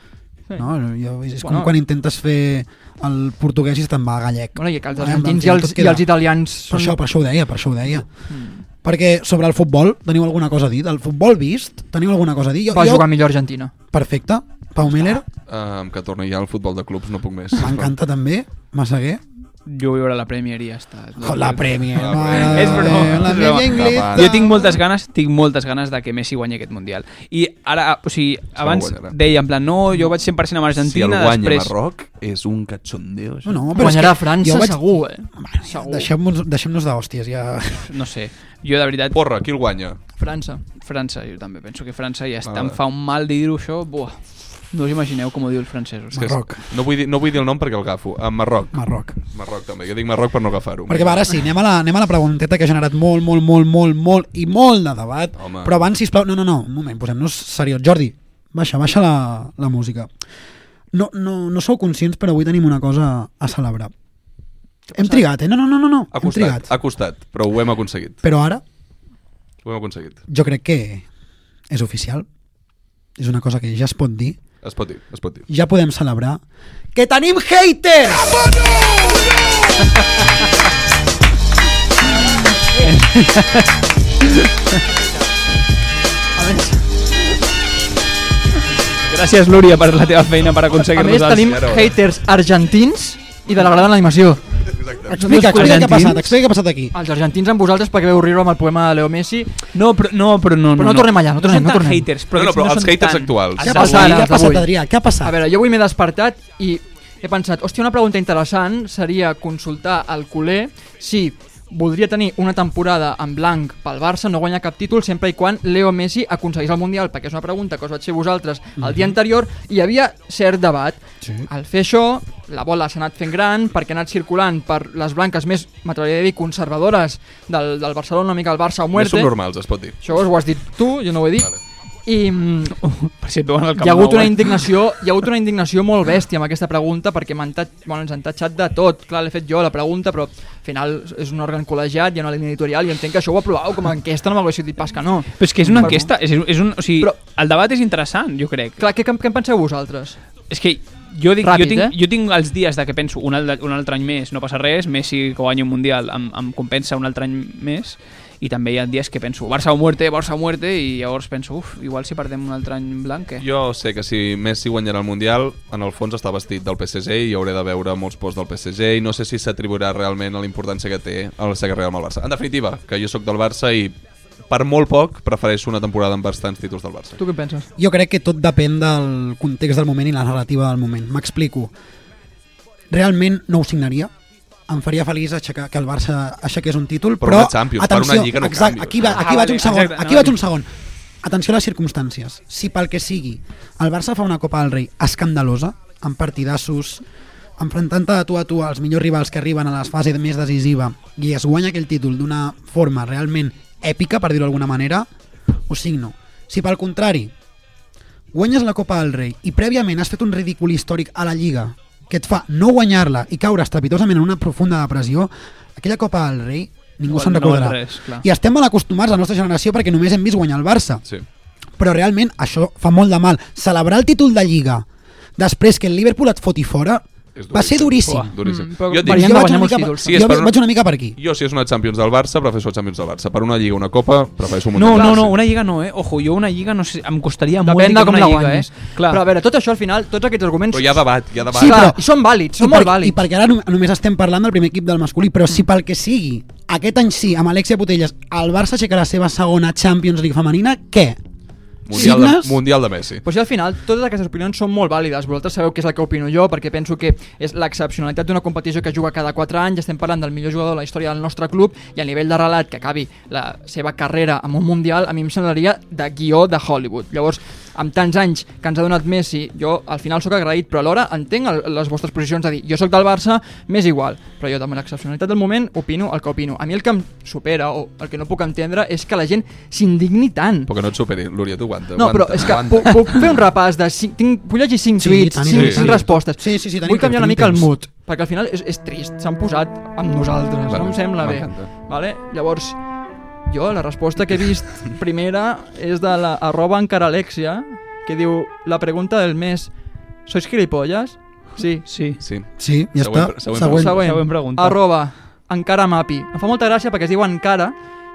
E: No? Jo, és com
G: Bueno.
E: quan intentes fer el portuguès i se te'n va a gallec.
G: Bueno, i que els
E: Em-
G: argentins
E: em-
G: i
E: em-
G: els,
E: tot
G: i
E: queda.
G: els italians
E: Per
G: són... Mm.
E: això, per això ho deia, per això ho deia. Perquè sobre el futbol, teniu alguna cosa a dir? Del futbol vist, teniu alguna cosa a dir?
G: va jugar millor Argentina.
E: Perfecte. Pau Miller,
F: Um, que torni ja al futbol de clubs, no puc més.
E: m'encanta també. Massaguer.
H: Jo veure la Premier i ja està.
E: La Premier.
F: Oh, La
E: mare
F: Premier.
E: de
H: És broma,
E: Déu, La
H: és broma.
E: media inglesa.
H: Jo tinc moltes ganes, tinc moltes ganes de que Messi guanyi aquest Mundial. I ara, ah, o sigui, abans
F: guanyarà.
H: deia en plan, no, jo vaig 100% amb
F: Si el
H: Argentina,
F: guanya
H: després...
F: Marroc, és un cachondeo. això.
E: No, no, però és
G: Guanyarà
E: que
G: França,
E: jo vaig-
G: segur, eh?
E: Deixem-nos deixem d'hòsties, ja...
H: No sé, jo de veritat,
F: Porra, qui el guanya?
G: França.
H: França, jo també penso que França ja està,
F: Vale.
H: em fa un mal dir-ho això, buah, no us imagineu com ho diu els francesos.
F: És que és-
E: Marroc.
F: No vull, dir, no vull dir el nom perquè el agafo. A Marroc.
E: Marroc.
F: Marroc també. Jo dic Marroc per no agafar-ho.
E: Perquè va, ara sí, anem a, la, anem a la pregunteta que ha generat molt, molt, molt, molt, molt i molt de debat.
F: Home.
E: Però abans, sisplau, no, no, no, un moment, posem-nos seriós. Jordi, baixa, baixa la, la música. No, no, no sou conscients, però avui tenim una cosa a celebrar. Hem trigat, eh? No, no, no, no, no.
F: Ha
E: hem
F: costat,
E: trigat.
F: ha costat, però ho hem aconseguit.
E: Però ara,
F: Ho hem aconseguit.
E: jo crec que és oficial. És una cosa que ja es pot dir.
F: Es pot dir, es pot dir.
E: Ja podem celebrar que tenim haters!
H: Gràcies, Lúria, per la teva feina per aconseguir
G: A més,
H: nosaltres.
G: tenim
F: ara veuràs.
G: haters argentins i de la grada en l'animació.
E: Explica, explica què ha
H: argentins.
E: passat, explica què ha passat aquí.
G: Els argentins amb vosaltres perquè veu riure amb el poema de Leo Messi.
H: No, però no, però no,
G: Però no tornem allà, no tornem,
H: són
G: no
H: tan
G: tornem.
H: haters, però,
F: No, no,
H: aquests
F: però els
H: són
F: haters
H: tan.
F: actuals.
E: Què ha
G: Avui,
E: passat,
G: avui.
E: què ha passat, Adrià? Què ha
G: A
E: passat?
G: veure, jo avui m'he despertat i he pensat, hòstia, una pregunta interessant seria consultar al culer si voldria tenir una temporada en blanc pel Barça, no guanyar cap títol, sempre i quan Leo Messi aconseguís el Mundial, perquè és una pregunta que us vaig fer vosaltres el dia anterior, i hi havia cert debat.
E: Sí.
G: Al fer això, la bola s'ha anat fent gran, perquè ha anat circulant per les blanques més, m'atreviria a dir, conservadores del, del Barcelona, una mica el Barça o
F: Més
G: Muerte.
F: subnormals, es pot dir.
G: Això ho has dit tu, jo no ho he dit.
F: Vale.
G: I mm,
H: Per si et veuen al Camp
G: hi ha hagut
H: Nou,
G: una
H: eh?
G: indignació, hi ha hagut una indignació molt bèstia amb aquesta pregunta perquè m'han tat, bueno, ens han tatxat de tot. Clar, l'he fet jo la pregunta, però al final és un òrgan col·legiat, hi ha una línia editorial i entenc que això ho aprovau com a enquesta, no m'hauria dit pas que no.
H: Però és que és una
G: Perdó.
H: enquesta, és, és un, o sigui,
G: Però-
H: però... el debat és interessant, jo crec.
G: Clar, què, què, què en penseu vosaltres?
H: És que jo, dic,
G: Ràpid,
H: jo, tinc,
G: eh?
H: jo tinc els dies de que penso un, al- un altre any més no passa res, Messi que guanya un Mundial em, em compensa un altre any més i també hi ha dies que penso Barça o muerte, Barça o muerte i llavors penso uf, igual si perdem un altre any blanc què?
F: Jo sé que si Messi guanyarà el Mundial, en el fons està vestit del PSG i hauré de veure molts posts del PSG i no sé si s'atribuirà realment a la importància que té el Sega Real amb el Barça. En definitiva, que jo sóc del Barça i per molt poc prefereixo una temporada amb bastants títols del Barça.
G: Tu què en penses?
E: Jo crec que tot depèn del context del moment i la narrativa del moment. M'explico. Realment no ho signaria. Em faria feliç aixecar, que el Barça aixequés un títol,
F: Per
E: però...
F: una Champions, per
E: atenció,
F: una Lliga no
E: exacte,
F: canvies.
E: aquí, va, aquí
H: Ah,
E: vaig
H: vale,
E: un segon,
H: exacte,
E: aquí
H: no.
E: vaig un segon. Atenció a les circumstàncies. Si pel que sigui el Barça fa una Copa del Rei escandalosa, amb partidassos, enfrontant de tu a tu als millors rivals que arriben a la fase més decisiva i es guanya aquell títol d'una forma realment èpica, per dir-ho d'alguna manera, ho signo. Si pel contrari guanyes la Copa del Rei i prèviament has fet un ridícul històric a la Lliga que et fa no guanyar-la i caure estrepitosament en una profunda depressió, aquella Copa del Rei ningú
H: No
E: se'n
H: val- no val
E: recordarà.
H: res, clar.
E: I estem mal acostumats, la nostra generació, perquè només hem vist guanyar el Barça
F: Sí.
E: però realment això fa molt de mal. Celebrar el títol de Lliga després que el Liverpool et foti fora,
F: És
E: va ser duríssim.
F: Uah, duríssim.
G: Mm, però
F: jo,
G: variant
E: Jo
G: de
F: dic,
E: vaig una
G: guanyar molts
E: mica,
G: títols,
E: per,
F: Sí, és
E: jo
F: per-
E: vaig una mica per aquí.
F: jo, si és una Champions del Barça, prefereixo Champions del Barça. Per una Lliga o una Copa, prefereixo un
H: No,
F: Mundial.
H: no, no,
F: Sí.
H: una lliga no, eh? Ojo, jo una lliga no sé, em costaria molt
G: Depèn
H: dir
G: de
H: que
G: com
H: una
G: la
H: lliga,
G: guanyis.
H: eh? Clar,
G: Però a veure, tot això al final, tots aquests arguments...
F: Però hi ha debat, hi ha debat.
G: Sí,
E: però-
G: però... són vàlids, són
E: I
G: molt
E: per- I
G: vàlids. Mm.
E: perquè ara no- només estem parlant del primer equip del masculí, però si pel que sigui, aquest any sí, amb Alexia Putelles, el Barça aixeca la seva segona Champions League femenina, què?
F: Mundial de,
E: Signes?
F: mundial de Messi.
G: Però si al final totes aquestes opinions són molt vàlides. Vosaltres sabeu què és el que opino jo, perquè penso que és l'excepcionalitat d'una competició que juga cada 4 anys, estem parlant del millor jugador de la història del nostre club, i a nivell de relat que acabi la seva carrera amb un Mundial, a mi em semblaria de guió de Hollywood. Llavors, amb tants anys que ens ha donat Messi, jo al final sóc agraït, però alhora entenc el, les vostres posicions de dir jo sóc del Barça, m'és igual, però jo de l'excepcionalitat del moment opino el que opino. A mi el que em supera o el que no puc entendre és que la gent s'indigni tant.
F: Però que no et superi, Lúria, tu aguanta.
G: No, però
F: aguanta,
G: és que
F: aguanta.
G: puc, puc fer un repàs de... Cinc, tinc, vull llegir 5
E: Sí,
G: tuits,
E: tenim
G: 5
F: temps.
G: sí. respostes.
E: Sí, sí, sí, tenim
G: Vull canviar
E: temps,
G: una
E: tenim
G: mica el
E: temps.
G: mood, perquè al final és, és trist. S'han posat amb nosaltres,
F: Vale,
G: no em sembla bé.
F: m'encanta.
G: Vale? Llavors, jo la resposta que he vist primera és de la arroba encaralexia, que diu la pregunta del mes, sois gilipolles? Sí.
H: Sí.
F: Sí.
E: Sí, ja
F: Següent
E: està.
F: pre- següent
E: Següent.
G: Següent.
H: Següent pregunta.
G: Arroba encara mapi. Em fa molta gràcia perquè es diu encara,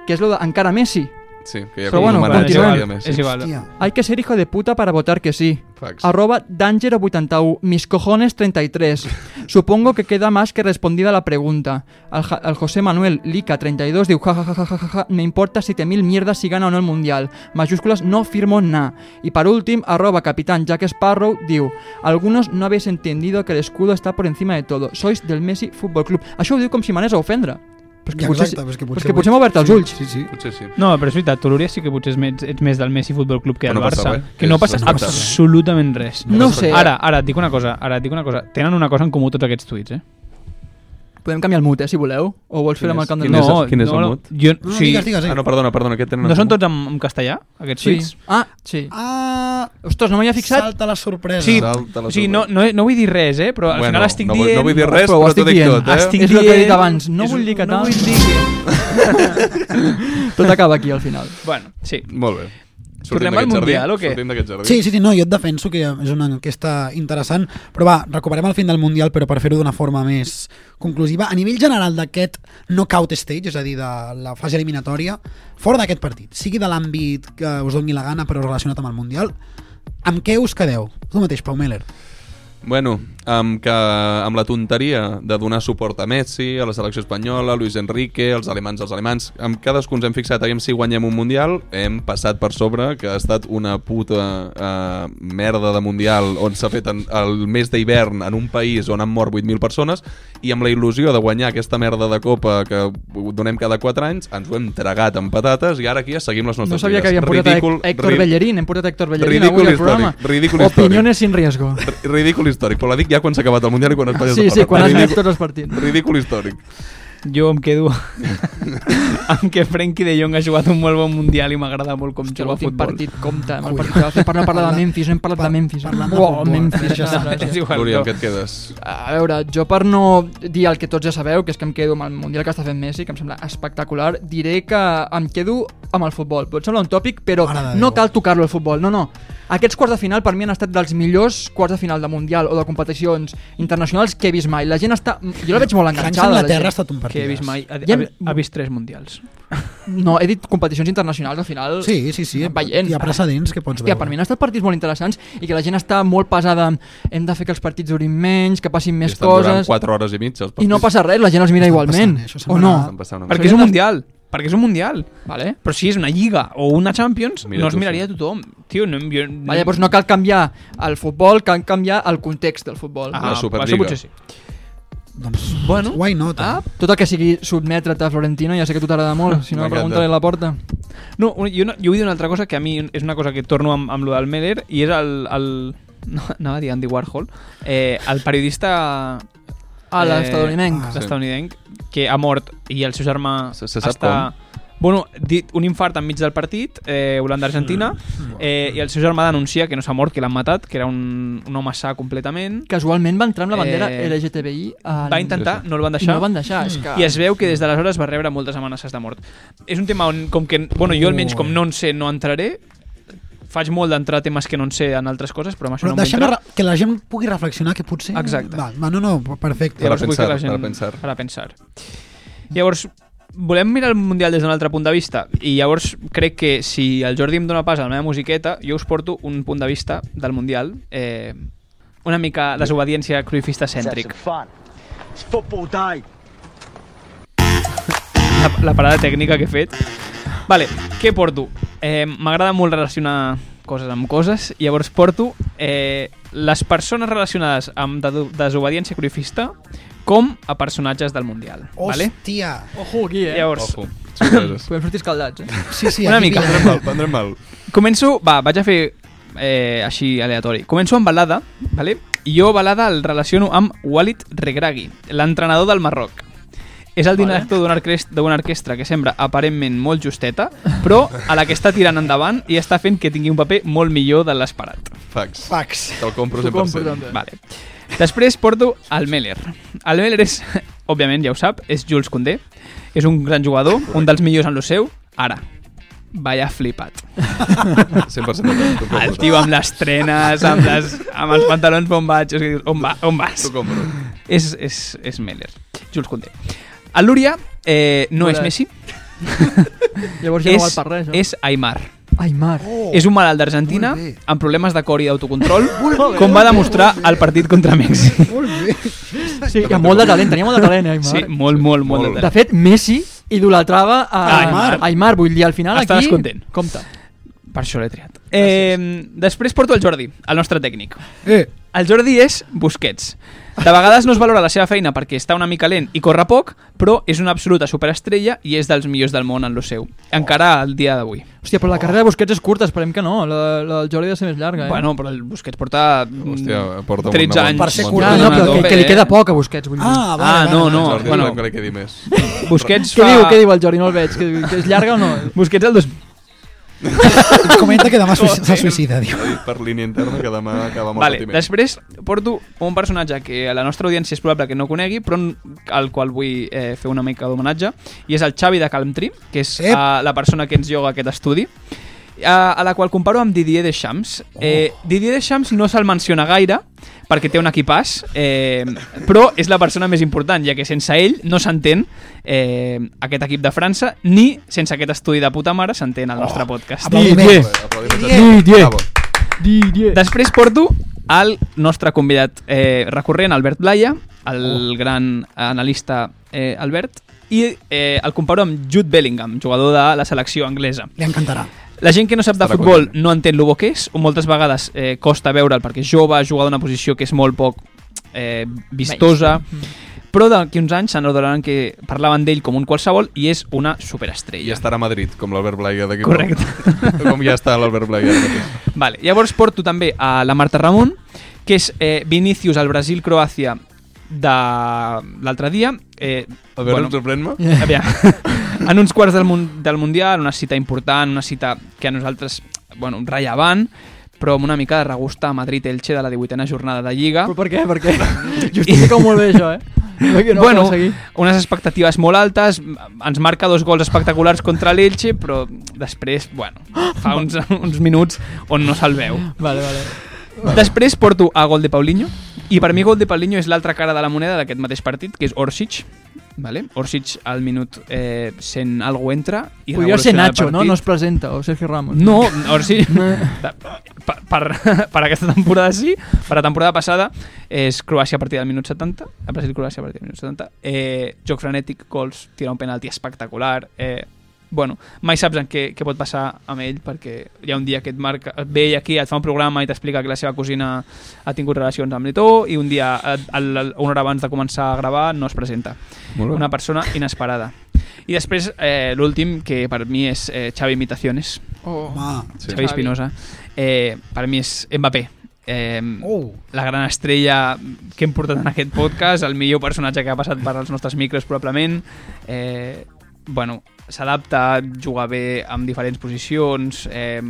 G: que és lo de encara Messi.
F: Sí, que hi ha
G: Però
F: com
G: bueno,
F: un
H: Bueno,
F: homenatge
H: és
G: continuem.
F: a
H: igual,
F: Lúria Messi.
H: és igual.
E: Hòstia.
G: Hay que ser hijo de puta para votar que sí.
F: Facts.
G: Arroba Danger81, mis cojones 33. Supongo que queda más que respondida la pregunta. Al, Ja- al José Manuel Lica32 diu, jajajajaja, me importa 7.000 mierdas si gana o no el Mundial. Mayúsculas, no firmo na. Y por último, arroba Capitán Jack Sparrow diu, algunos no habéis entendido que el escudo está por encima de todo. Sois del Messi Fútbol Club. Això ho diu com si m'anés a ofendre. Però és que
E: Ja,
G: potser,
E: exacte, però és que
G: però és
E: potser
G: que potser m'ha obert els
E: Sí,
G: ulls.
E: Sí, sí.
F: Potser sí.
H: No, però és veritat, tu, Lúria, sí que potser ets més, ets més del Messi Futbol Club que
F: Però
H: del
F: no passa
H: Barça.
F: res,
H: que no
F: és-
H: passa
F: no passa res.
H: absolutament res.
G: No ho sé.
H: Ara, ara, et dic una cosa, ara et dic una cosa. Tenen una cosa en comú tots aquests tuits, eh?
G: Podem canviar el mute, eh, si voleu. O vols fer-ho amb el camp de...
F: Quin és el- quin és el
H: no,
F: mut?
H: Jo,
E: No, no,
H: sí.
E: digues, digues. Sí.
F: Ah, no, perdona, perdona, aquest tenen...
H: No
F: en
H: són
F: comú.
H: tots en, en castellà, aquests
G: Sí.
H: tuits?
G: Ah, sí.
E: Ah,
G: Ostres, no m'hi havia fixat.
E: salta la sorpresa.
H: Sí,
F: Salta la
H: o sigui, no,
F: sorpresa.
H: no, no vull dir res, eh? Però al
F: Bueno,
H: final estic
F: no vull-
H: dient...
F: no vull dir res,
G: Però ho
F: però
G: estic
F: t'ho dic
G: dient.
F: tot, eh?
H: Estic
G: És el que he
H: dient-
G: dit abans, no
H: és
G: vull
H: un-
G: dir que
H: no
G: tal.
H: vull dir que-
G: Tot acaba aquí al final.
H: Bueno, sí.
F: Molt bé.
H: Tornem al
F: d'aquest jardí,
H: Mundial, o què?
F: Sortim d'aquest jardí.
E: Sí, sí, sí, no, jo et defenso que és una enquesta interessant, però va, recuperem el fin del Mundial, però per fer-ho d'una forma més conclusiva. A nivell general d'aquest knockout stage, és a dir, de la fase eliminatòria, fora d'aquest partit, sigui de l'àmbit que us doni la gana, però relacionat amb el Mundial, amb què us quedeu? Tu mateix, Pau Meller.
F: Bueno, amb, que, amb la tonteria de donar suport a Messi, a la selecció espanyola, a Luis Enrique, als alemans, als alemans, amb cadascú ens hem fixat, aviam si guanyem un Mundial, hem passat per sobre, que ha estat una puta eh, merda de Mundial on s'ha fet en, el mes d'hivern en un país on han mort 8.000 persones, i amb la il·lusió de guanyar aquesta merda de copa que ho donem cada 4 anys, ens ho hem tragat amb patates i ara aquí ja seguim les nostres
G: No sabia que
F: vides.
G: havien portat
F: Ridícul,
G: a Héctor
F: ri-
G: Bellerín, hem portat a Héctor Bellerín
F: Ridícul
G: avui al
F: històric,
G: programa.
F: ridícul
G: Opiniones sin riesgo.
F: R- Ridícul històric, però la dic ja quan s'ha acabat el Mundial i quan Espanya
G: Sí,
F: s'ha
G: sí,
F: parlat.
G: quan has vist
F: ridícul,
G: tots els partits.
F: ridícul històric.
H: Jo em quedo amb que Frenkie de Jong ha jugat un molt bon Mundial i m'agrada molt com
G: Que
H: juga a
G: l'últim
H: futbol.
G: partit compta amb el partit que va fer per no parlar de Memphis, no hem parlat de Memphis.
E: parlant de
G: Uau,
E: futbol.
G: Memphis.
E: Això
G: no,
H: És igual.
F: Núria,
H: no.
F: amb què et quedes?
G: A veure, jo per no dir el que tots ja sabeu, que és que em quedo amb el Mundial que està fent Messi, que em sembla espectacular, diré que em quedo amb el futbol. Pot semblar un tòpic, però
E: Mare de
G: no
E: Déu.
G: cal tocar-lo al futbol, no, no. Aquests quarts de final per mi han estat dels millors quarts de final de Mundial o de competicions internacionals que he vist mai. La gent està... Jo la veig molt
E: França
G: enganxada. la
E: Anglaterra ha
G: gent.
E: estat un partit.
H: Que he vist mai. Ha,
G: Hi ha-
H: ha, ha vist tres Mundials.
G: No, he dit competicions internacionals, al final...
E: Sí, sí, sí.
G: Veient.
E: Hi ha precedents que pots
G: Hòstia,
E: veure.
G: per mi han estat partits molt interessants i que la gent està molt pesada amb hem de fer que els partits durin menys, que passin més
F: Estan durant
G: coses
F: 4 hores i mitja. els
G: i no
F: partits.
G: passa res, la gent els mira
E: Estan
G: igualment.
E: passant, eh? Això
G: o
E: sembla-
G: no?
F: Estan passant una
H: Perquè és un Mundial. Perquè és un Mundial.
G: Vale?
H: Però si és una Lliga o una Champions,
F: Mira
H: no es
F: tu,
H: miraria
F: sí.
H: tothom. Tio, no, jo,
G: Vale,
H: no...
G: Mm. Ah, llavors pues no cal canviar el futbol, cal canviar el context del futbol.
H: Ah,
F: La Superliga.
H: Això potser sí.
E: Doncs,
H: Bueno.
E: why not? eh?
H: Ah,
G: Tot el que sigui sotmetre't a Florentino, ja sé que a tu t'agrada molt, si no
F: M'encanta.
G: pregunta-li a la porta.
H: No, un- jo, no, jo vull dir una altra cosa que a mi és una cosa que torno amb, amb lo del Meller i és el... el no, anava a dir Andy Warhol. Eh, el periodista...
G: Ah, l'estadounidenc.
H: Ah,
F: Sí.
H: L'estadounidenc, que ha mort i el seu germà
F: Se- se sap
H: Bueno, dit un infart enmig del partit, eh, Holanda-Argentina,
F: Mm.
H: eh, i el seu germà denuncia que no s'ha mort, que l'han matat, que era un, un home sa completament.
G: Casualment va entrar amb la bandera
H: Eh,
G: LGTBI al...
H: Va intentar, no el van
G: Ah, I
H: deixar.
G: no
H: Mm.
G: el van deixar, és que...
H: I es veu que des d'aleshores va rebre moltes amenaces de mort. És un tema on, com que, bueno, jo almenys com no en sé, no entraré, faig molt d'entrar a temes que no en sé en altres coses, però en això
E: Però
H: no m'ho
E: deixem
H: entra.
E: re- que la gent pugui reflexionar que potser...
H: Exacte.
E: Val, va, no, no, perfecte.
F: Ara
H: Llavors vull que
F: pensar,
H: la gent...
F: ara pensar.
H: Ara pensar. Llavors, volem mirar el Mundial des d'un altre punt de vista i llavors crec que si el Jordi em dóna pas a la meva musiqueta, jo us porto un punt de vista del Mundial eh, una mica desobediència cruifista cèntric. La, la parada tècnica que he fet. Vale, què porto? Eh, M'agrada molt relacionar coses amb coses, llavors porto eh, les persones relacionades amb de- desobediència cruifista com a personatges del Mundial. Vale?
E: Hòstia!
G: Ojo aquí, eh?
H: Llavors,
F: Ojo, sorpreses.
G: Podem sortir escaldats, eh?
E: Sí, sí,
H: Una
E: aquí
H: mica.
E: pillarem.
F: Prendrem mal, prendrem mal.
H: Començo, va, vaig a fer eh, així aleatori. Començo amb Balada, vale? i jo Balada el relaciono amb Walid Regragui, l'entrenador del Marroc. És el director d'una orquest- d'una orquestra que sembla aparentment molt justeta, però a la que està tirant endavant i està fent que tingui un paper molt millor de l'esperat.
F: Fax.
E: Fax.
F: Te'l compro
G: T'ho compro,
F: 100%.
G: també.
H: Vale. Després porto el Meller. El Meller és, òbviament, ja ho sap, és Jules Condé. És un gran jugador, un dels millors en lo seu. Ara, vaya flipat.
F: 100% del T'ho
H: El
F: compro.
H: tio amb les trenes, amb, les, amb els pantalons bombatxos, que dius, on, va, on vas?
F: T'ho compro.
H: És, és, és Meller, Jules Condé. El Lúria eh, no
G: Hola.
H: és Messi,
G: Llavors ja no val
H: és,
G: per res, no?
H: és Aymar.
G: Ai, mar.
H: Oh, és un malalt d'Argentina amb problemes de cor i d'autocontrol, com va demostrar el partit contra Mèxic.
G: Sí, que molt de talent, tenia molt de talent, eh, Aymar.
H: Sí, molt, molt, molt.
F: Molt.
H: de
G: De
H: talent.
G: fet, Messi idolatrava a
H: A Aymar.
G: Aymar, vull dir, al final
H: Estaràs
G: aquí...
H: content.
G: Compte.
H: Per això l'he triat. Eh, després porto el Jordi, el nostre tècnic.
E: Eh,
H: El Jordi és Busquets. De vegades no es valora la seva feina perquè està una mica lent i corre poc, però és una absoluta superestrella i és dels millors del món en lo seu. Encara al dia d'avui.
G: Hòstia, però la carrera de Busquets és curta, esperem que no. La, la del Jordi ha de ser més llarga, eh?
H: Bueno, però el Busquets porta, mm,
F: Hòstia, porta un
H: 13
F: bon-
H: anys.
E: Per ser
F: bon
E: curt. Ah,
G: ja,
F: temps.
G: no, però
H: no,
G: que, que li
H: bé,
G: queda
H: eh?
G: poc a Busquets, vull dir.
E: ah, vale,
H: Ah,
E: vale,
H: no,
E: vale.
H: no.
F: Jordi,
H: Bueno,
F: no crec que dir més.
H: Busquets
G: Què
H: fa...
G: diu, què diu el Jordi? No el veig. Que, que és llarga o no?
H: Busquets el dos...
E: Ens comenta que demà suï- se suïcida, diu.
F: Ha dit per línia interna que demà acaba amb el
H: Vale,
F: patiment.
H: després porto un personatge que a la nostra audiència és probable que no conegui, però en- al qual vull eh, fer una mica d'homenatge, i és el Xavi de Calmtree, que és
E: Ep.
H: eh, la persona que ens lloga aquest estudi, eh, a, a la qual comparo amb Didier Deschamps.
F: Oh.
H: Eh, Didier Deschamps no se'l menciona gaire, perquè té un equipàs, eh, però és la persona més important, ja que sense ell no s'entén eh, aquest equip de França, ni sense aquest estudi de puta mare s'entén el
F: Oh,
H: nostre podcast.
E: Aplaudiments.
F: Aplaudiments.
G: Didier.
F: Bravo.
G: Didier.
H: Després porto al nostre convidat eh, recurrent, Albert Blaya,
F: Oh.
H: el gran analista eh, Albert, i eh, el comparo amb Jude Bellingham, jugador de la selecció anglesa.
E: Li encantarà.
H: La gent que no sap de
F: Estarà
H: futbol
F: content.
H: no entén lo bo que és, o moltes vegades eh, costa veure'l perquè és jove, jugar d'una posició que és molt poc eh, vistosa,
F: Mm-hmm.
H: però d'aquí uns anys s'adonaran que parlaven d'ell com un qualsevol i és una
F: I
H: superestrella.
F: estarà a Madrid, com l'Albert Blaiga d'aquí. poc.
H: Correcte.
F: Com ja està l'Albert Blaiga. ara mateix.
H: Vale, llavors porto també a la Marta Ramon, que és eh, Vinicius al Brasil-Croàcia de l'altre dia. Eh,
F: A veure, bueno. sorprèn-me.
H: aviam, en uns quarts del, mun del Mundial, una cita important, una cita que a nosaltres, bueno, rellevant, però amb una mica de regust a Madrid-Elche de la 18a jornada de Lliga.
G: Però per què? Per què? Justifica molt bé això, eh? No, que no
H: bueno,
G: bueno, seguir.
H: unes expectatives molt altes, ens marca dos gols espectaculars contra l'Elche, però després, bueno, fa uns, uns minuts on no se'l veu.
G: Vale, vale.
H: Després porto a gol de Paulinho i per mi gol de Paulinho és l'altra cara de la moneda d'aquest mateix partit, que és Orsic. Vale? Orsic al minut eh, 100 algo entra i
G: Podria ser
H: revoluciona el
G: Nacho, no?
H: partit.
G: No es presenta, o Sergio Ramos.
H: No, o sigui, per, per, per aquesta temporada sí, per la temporada passada és Croàcia a partir del minut 70, a Brasil-Croàcia a partir del minut 70, eh, joc frenètic, gols, tira un penalti espectacular, eh, bueno, mai saps en què, què pot passar amb ell perquè hi ha un dia que et marca, et ve aquí, et fa un programa i t'explica que la seva cosina ha tingut relacions amb l'Eto i un dia, eh, el, el, una hora abans de començar a gravar, no es presenta
F: Molt bé.
H: una persona inesperada. I després, eh, l'últim, que per mi és eh, Xavi Imitaciones,
G: Oh.
E: Home,
F: Sí.
H: Xavi Espinosa, eh, per mi és Mbappé. Eh,
E: Oh.
H: La gran estrella que hem portat en aquest podcast, el millor personatge que ha passat per als nostres micros, probablement. Eh, bueno, s'adapta, juga bé amb diferents posicions, eh,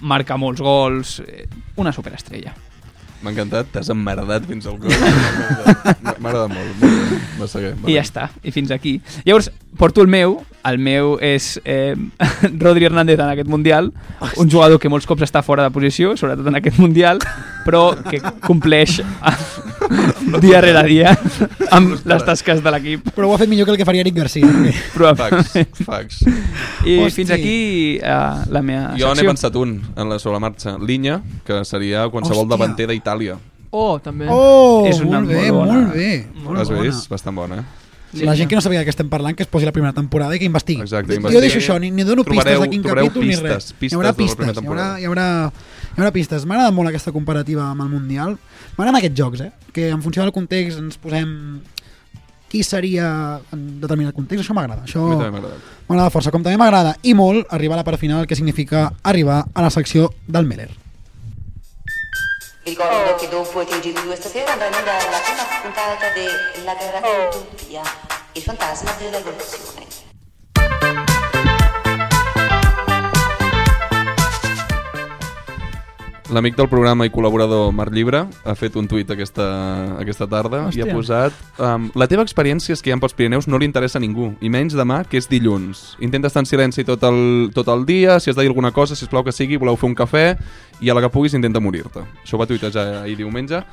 H: marca molts gols, eh, una superestrella.
F: M'ha encantat, t'has emmerdat fins al cor. M'ha agradat molt. molt bé. Va seguir.
H: I ja està, i fins aquí. Llavors, porto el meu, El meu és eh, Rodri Hernández en aquest Mundial, un jugador que molts cops està fora de posició, sobretot en aquest Mundial, però que compleix dia rere dia amb les tasques de l'equip.
E: Però ho ha fet millor que el que faria Eric Garcia.
H: Probablement.
F: Fax, fax.
H: I
E: Hosti.
H: fins aquí eh, la meva
F: Jo n'he
H: secció.
F: pensat un en la sobre la marxa. Linya, que seria qualsevol
E: Hòstia.
F: davanter d'Itàlia.
G: Oh, també.
E: Oh,
H: És una
E: molt bé,
H: molt bona.
E: molt bé. Molt
F: Has
E: bona.
F: vist? Bastant bona, eh?
E: La gent que no sabia de què estem parlant, que es posi la primera temporada i que investigui.
F: Exacte,
E: Jo
F: investigui.
E: deixo això, ni, ni dono pistes
F: Trobareu-
E: de quin
F: trobareu
E: capítol ni res.
F: pistes,
E: hi
F: pistes
E: haurà
F: de la primera
E: pistes, hi haurà,
F: temporada.
E: hi haurà, hi haurà pistes. M'agrada molt aquesta comparativa amb el Mundial. M'agraden aquests jocs, eh? Que en funció del context ens posem qui seria en determinat context. Això m'agrada. Això
F: A mi també m'ha agradat.
E: m'agrada força. Com també m'agrada i molt arribar a la part final, que significa arribar a la secció del Meller.
J: Ricordo che dopo TG2 stasera andrà in onda la prima puntata della grande utopia, il fantasma della rivoluzione.
F: L'amic del programa i col·laborador Marc Llibre ha fet un tuit aquesta, aquesta tarda i
G: Hòstia.
F: ha posat um, La teva experiència és que hi ha pels Pirineus no li interessa a ningú, i menys demà, que és dilluns. Intenta estar en silenci tot el, tot el dia, si has de dir alguna cosa, si plau que sigui, voleu fer un cafè, i a la que puguis intenta morir-te. Això ho va tuitejar ahir diumenge.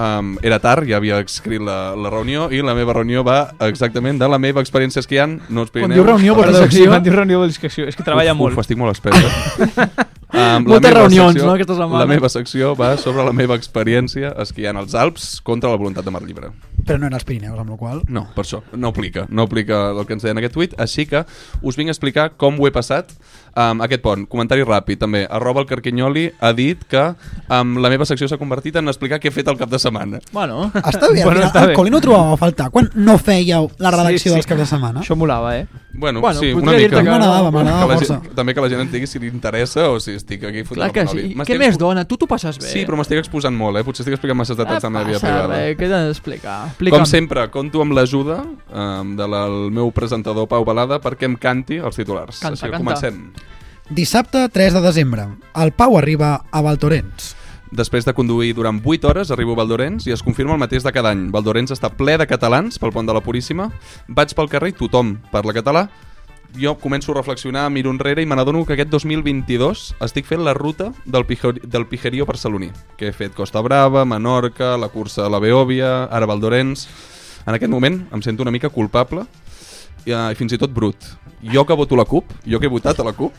F: Um, era tard, ja havia escrit la, la reunió, i la meva reunió va exactament de la meva experiència esquiant, no els
G: Quan
F: Pirineus.
G: diu reunió, vols
H: Perdó,
G: dir
H: sí,
G: secció?
H: quan diu reunió vols que sí, és que treballa
F: uf,
H: molt.
F: Uf, estic molt expert. eh? Um,
G: Moltes reunions, no, aquesta setmana.
F: La meva secció va sobre la meva experiència esquiant als Alps contra la voluntat de Mar Llibre.
E: Però no era els Pirineus, amb la qual cosa.
F: No, per això, no aplica, no aplica el que ens deia en aquest tuit, així que us vinc a explicar com ho he passat um, aquest pont. Comentari ràpid, també. Arroba el Carquinyoli ha dit que um, la meva secció s'ha convertit en explicar què he fet el cap de setmana.
G: Bueno,
E: Està bé,
H: Bueno,
E: bueno,
H: està
E: final,
H: bé.
E: el Colin ho trobava a faltar. Quan no fèieu la redacció
H: Sí, sí.
E: dels caps de setmana?
H: Això molava, eh?
F: Bueno,
G: Bueno,
F: sí, una
G: podria dir-te
F: mica.
G: que-
E: M'agradava,
F: Que la
E: m'agradava força.
F: gent, també que la gent entengui si li interessa o si estic aquí fotent
G: clar
F: el
G: que
F: monòleg.
G: sí. Què
F: M'estic
G: més,
F: expo-
G: dona? Tu t'ho passes bé.
F: Sí, però m'estic exposant molt, eh? Potser estic explicant massa detalls de la meva vida privada.
G: Res, què t'he d'explicar? Explica'm.
F: Com sempre, conto amb l'ajuda um, del meu presentador Pau Balada perquè em canti els titulars.
G: Canta,
F: Així que
G: canta.
F: comencem.
E: Dissabte 3 de desembre, el Pau arriba a Valtorens.
F: Després de conduir durant 8 hores, arribo a Valdorens i es confirma el mateix de cada any. Valdorens està ple de catalans pel pont de la Puríssima. Vaig pel carrer i tothom parla català. Jo començo a reflexionar, miro enrere i me n'adono que aquest 2022 estic fent la ruta del, pijori, del pijerío barceloní, que he fet Costa Brava, Menorca, la cursa de la Beòvia, ara Valdorens... En aquest moment em sento una mica culpable i, eh, i fins i tot brut. Jo que voto la CUP, jo que he votat a la CUP,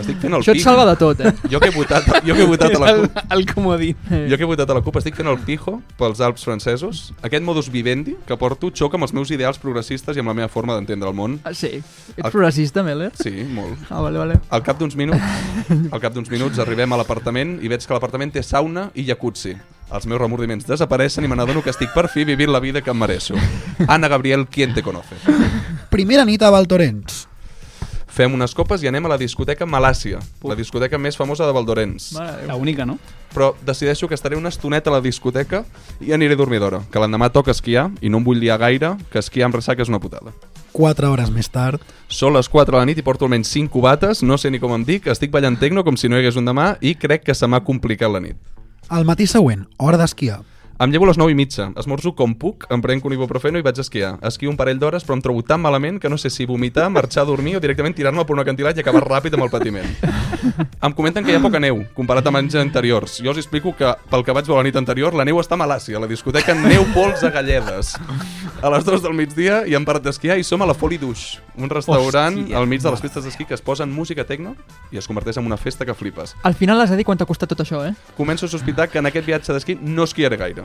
F: estic fent el
G: Això et
F: pijo.
G: salva de tot, eh?
F: Jo que he votat, jo que he votat a la
H: el,
F: CUP.
H: el comodí.
F: Jo que he votat a la CUP estic fent el pijo pels Alps francesos. Aquest modus vivendi que porto xoca amb els meus ideals progressistes i amb la meva forma d'entendre el món.
G: Ah, Sí. Ets
F: El-
G: progressista, Meller?
F: Sí, molt.
G: Ah, vale, vale.
F: Al cap d'uns minuts, al cap d'uns minuts arribem a l'apartament i veig que l'apartament té sauna i jacuzzi. Els meus remordiments desapareixen i me n'adono que estic per fi vivint la vida que em mereixo. Anna Gabriel, ¿quién te conoce?
E: Primera nit a Valtorens.
F: Fem unes copes i anem a la discoteca Malàcia, la discoteca més famosa de Valdorens.
G: Mare de Déu.
H: La única, no?
F: però decideixo que estaré una estoneta a la discoteca i aniré a dormir d'hora, que l'endemà toca esquiar i no em vull liar gaire, que esquiar amb ressaca és una putada.
E: 4 hores més tard.
F: Són les 4 de la nit i porto almenys 5 cubates, no sé ni com em dic, estic ballant tecno com si no hi hagués un demà i crec que se m'ha complicat la nit.
E: Al matí següent, hora d'esquiar.
F: Em llevo a les 9 i mitja, esmorzo com puc, em prenc un ibuprofeno i vaig a esquiar. Esquio un parell d'hores però em trobo tan malament que no sé si vomitar, marxar a dormir o directament tirar-me per una cantilat i acabar ràpid amb el patiment. Em comenten que hi ha poca neu, comparat amb anys anteriors. Jo us explico que, pel que vaig veure la nit anterior, la neu està a Malàcia, a la discoteca Neu Pols a Galledes. A les 2 del migdia i en part d'esquiar i som a la Foli Duix, un restaurant Hòstia, al mig de les festes d'esquí que es posen música tecno i es converteix en una festa que flipes.
G: Al final has de dir quant t'ha costat tot això, eh?
F: Començo a sospitar que en aquest viatge d'esquí no esquiaré gaire.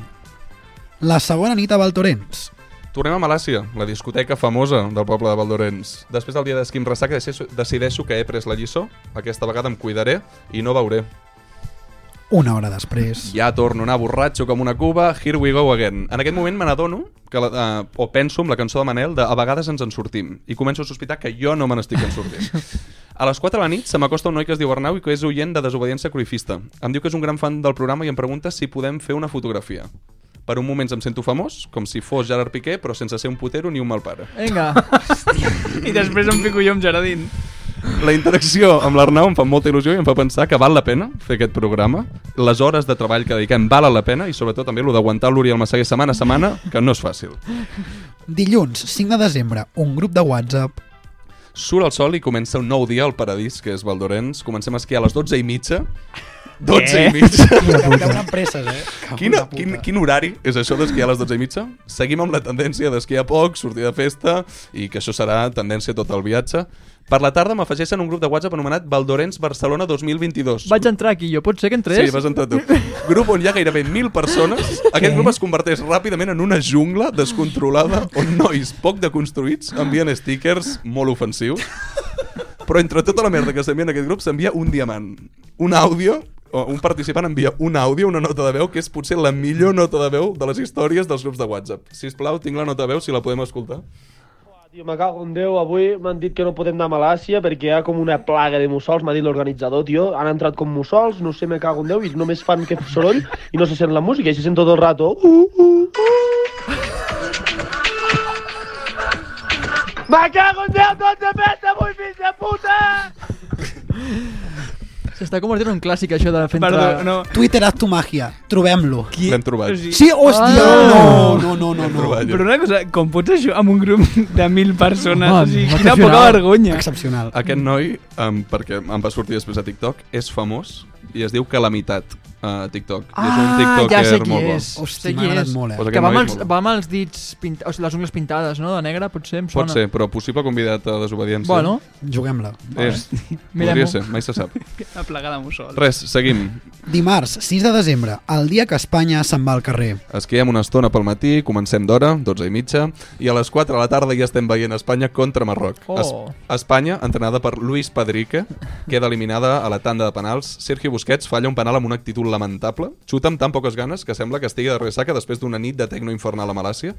E: La segona nit a Valtorens.
F: Tornem a Malàcia, la discoteca famosa del poble de Valdorens. Després del dia d'esquí amb ressaca decideixo- decideixo que he pres la lliçó, aquesta vegada em cuidaré i no veuré.
E: Una hora després.
F: Ja torno a anar borratxo com una cuba, here we go again. En aquest moment me n'adono, que la- eh, o penso amb la cançó de Manel, de a vegades ens en sortim, i començo a sospitar que jo no me n'estic en sortint. A les 4 de la nit se m'acosta un noi que es diu Arnau i que és oient de desobediència cruifista. Em diu que és un gran fan del programa i em pregunta si podem fer una fotografia. Per un moment em sento famós, com si fos Gerard Piqué, però sense ser un putero ni un mal pare.
G: Vinga.
H: I després em fico jo amb Gerardín.
F: La interacció amb l'Arnau em fa molta il·lusió i em fa pensar que val la pena fer aquest programa. Les hores de treball que dediquem valen la pena i sobretot també el d'aguantar l'Oriol Massaguer setmana a setmana, que no és fàcil.
E: Dilluns 5 de desembre, un grup de WhatsApp.
F: Surt el sol i comença un nou dia al paradís, que és Valdorens. Comencem a esquiar a les 12 i mitja. 12
H: Eh?
F: i mitja.
E: Deuen empreses, eh?
F: Quina, quin, quin horari és això d'esquiar a les 12 i mitja? Seguim amb la tendència d'esquiar poc, sortir de festa, i que això serà tendència tot el viatge. Per la tarda m'afegeixen un grup de WhatsApp anomenat Valdorens Barcelona 2022.
G: Vaig entrar aquí jo, pot ser que entrés?
F: Sí, vas entrar tu. Grup on hi ha gairebé 1.000 persones. Aquest grup es converteix ràpidament en una jungla descontrolada on nois poc deconstruïts envien stickers molt ofensius. Però entre tota la merda que s'envia en aquest grup s'envia un diamant. Un àudio o un participant envia un àudio, una nota de veu, que és potser la millor nota de veu de les històries dels grups de WhatsApp. Si us plau, tinc la nota de veu, si la podem escoltar.
K: Ah, Tio, me cago en Déu, avui m'han dit que no podem anar a Malàcia perquè hi ha com una plaga de mussols, m'ha dit l'organitzador, tio. Han entrat com mussols, no sé, me cago en Déu, i només fan que soroll i no se sent la música, i se sent tot el rato. Uh, uh, uh. Me cago en Déu, tot de festa avui, fills de puta!
G: S'està convertint en un clàssic, això de fer entrar...
H: Perdó, no.
E: Twitter haz tu màgia. Trobem-lo.
F: L'hem trobat.
E: Sí, hòstia!
G: Ah.
E: No, no, no, no.
F: trobat.
H: Però una cosa, com pots això amb un grup de mil persones?
G: Home,
H: o sigui,
G: no
H: quina
G: t'aficionava.
H: poca vergonya.
E: Excepcional.
F: Aquest noi, um, perquè em va sortir després a TikTok, és famós i es diu Calamitat a TikTok. I és un
G: Ah,
F: TikToker
G: ja sé qui
F: molt bo.
G: és.
E: Hòstia,
G: Sé
E: m'ha
G: qui
E: agradat
G: és.
E: molt, eh?
F: Pues
G: Que
F: aquest
G: va amb,
F: noi és
G: els,
F: molt bo.
G: va amb els dits pintats, o sigui, les ungles pintades, no? De negre, potser, em sona.
F: Pot ser, però possible convidat a desobediència.
G: Bueno,
E: Juguem-la.
F: És,
G: Mirem-ho.
F: podria ser, mai se sap.
H: A plegar de mussol.
F: Res, seguim.
E: Dimarts, 6 de desembre, el dia que Espanya se'n va al carrer.
F: Esquiem una estona pel matí, comencem d'hora, 12 i mitja, i a les 4 de la tarda ja estem veient Espanya contra Marroc.
G: Oh.
F: Espanya, entrenada per Luis Padrique, queda eliminada a la tanda de penals. Sergio Busquets falla un penal amb una actitud lamentable, xuta amb tan poques ganes que sembla que estigui de ressaca després d'una nit de tecno infernal a Malàcia.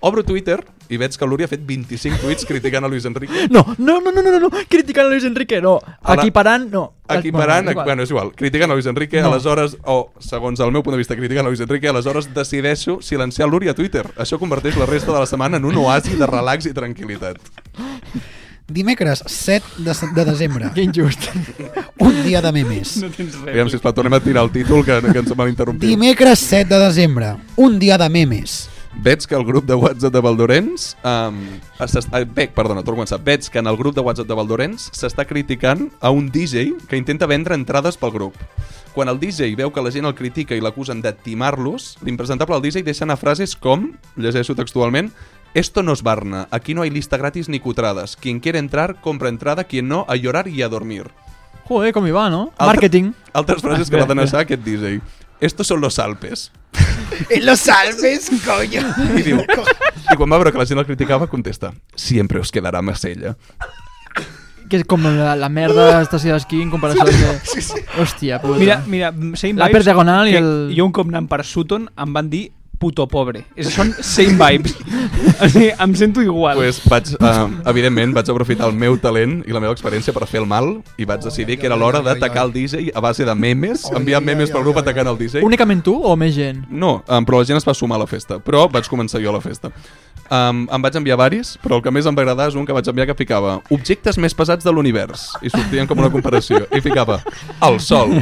F: Obro Twitter i veig que l'Uri ha fet 25 tuits criticant a Luis Enrique.
G: No, no, no, no, no, no, criticant a Luis Enrique, no.
F: A la-
G: Equiparant, no.
F: Equiparant,
G: Bueno,
F: bueno, bueno, és igual, critiquen a Luis Enrique, no. aleshores, o segons el meu punt de vista, critiquen a Luis Enrique, aleshores decideixo silenciar l'Uri a Twitter. Això converteix la resta de la setmana en un oasi de relax i tranquil·litat.
E: Dimecres, 7 de, se- de desembre,
G: Que injust.
E: un dia de memes.
H: No tens res.
F: Aviam, sisplau, tornem a tirar el títol que, que ens mal interrompit.
E: Dimecres, 7 de desembre, un dia de memes.
F: Veig que el grup de WhatsApp de Valdorens... Um, veig, perdona, torno a començar. Veig que en el grup de WhatsApp de Valdorens s'està criticant a un DJ que intenta vendre entrades pel grup. Quan el DJ veu que la gent el critica i l'acusen de timar-los, l'impresentable del DJ deixa anar frases com, llegeixo textualment, Esto no es Barna, aquí no hay lista gratis ni cutradas. Quien quiere entrar, compra entrada, quien no, a llorar y a dormir.
G: Joder, com hi va, no?
F: Altre-
G: Màrqueting.
F: Altres frases que va deixar aquest DJ. Estos son los Alpes.
E: En Eh, los Alpes, coño.
F: I diu... I quan va veure que la gent el criticava, contesta Siempre os quedará Marsella.
G: Que és com la, la merda de l'estació d'esquí en comparació amb... Que... Sí, sí. Hòstia, puta.
H: Mira, mira, same
G: La
H: vibes
G: Perdiagonal i
H: que
G: el-
H: Jo un cop anant per Sutton em van dir puto pobre. És- Són same vibes. o sigui, em sento igual.
F: Pues vaig, eh, evidentment, vaig aprofitar el meu talent i la meva experiència per fer el mal i vaig decidir que era l'hora d'atacar el DJ a base de memes, enviar memes pel grup atacant el DJ.
G: Únicament tu o més gent?
F: No, um, però la gent es va sumar a la festa. Però vaig començar jo a la festa. Um, em vaig enviar varis, però el que més em va agradar és un que vaig enviar que ficava objectes més pesats de l'univers. I sortien com una comparació. I ficava el sol,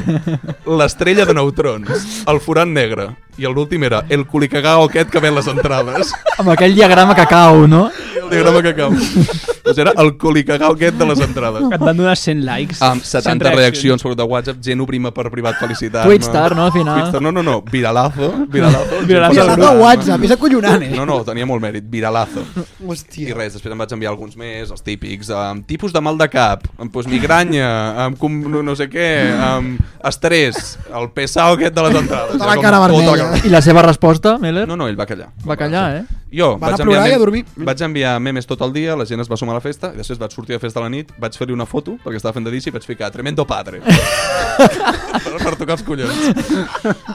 F: l'estrella de neutrons, el forat negre. I l'últim era el culicagao aquest que ven les entrades.
G: Amb aquell diagrama que cau, no?
F: El diagrama que cau. Doncs era el culicagao aquest de les entrades.
H: Et van donar 100 likes.
G: Ah.
F: Amb
H: 100
F: 70 reaccions sobre de WhatsApp, gent obrima per privat felicitar-me.
G: Twitstar, no, al final?
F: Twitstar, no, no, no, viralazo. Viralazo.
H: Viralazo.
E: Ja
H: Viralazo.
E: l'ha de WhatsApp, és acollonant, eh?
F: No, no, tenia molt mèrit, viralazo. I
E: Hòstia.
F: res, després em vaig enviar alguns més, els típics, amb tipus de mal de cap, amb pues, migranya, amb com, no, no sé què, amb estrès, el pesau aquest de les entrades.
E: Tota la
F: Com
E: cara vermella.
G: I la seva resposta, Meller?
F: No, no, ell va callar.
G: Va callar, eh?
F: Jo
E: Va anar
F: vaig
E: a
F: enviar,
E: plorar i a
F: memes-
E: dormir.
F: vaig enviar memes tot el dia, la gent es va sumar a la festa, i després vaig sortir de festa a la nit, vaig fer-li una foto, perquè estava fent de dici, i vaig ficar tremendo padre. per, per tocar els collons.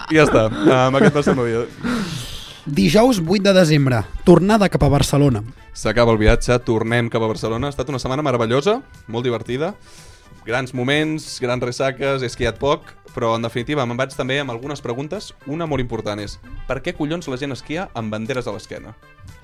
F: I ja està, amb aquest va ser el meu dia.
E: Dijous 8 de desembre, tornada cap a Barcelona.
F: S'acaba el viatge, tornem cap a Barcelona. Ha estat una setmana meravellosa, molt divertida. Grans moments, grans ressaques, he esquiat poc, Però, en definitiva, me'n vaig també amb algunes preguntes. Una molt important és, per què collons la gent esquia amb banderes a l'esquena?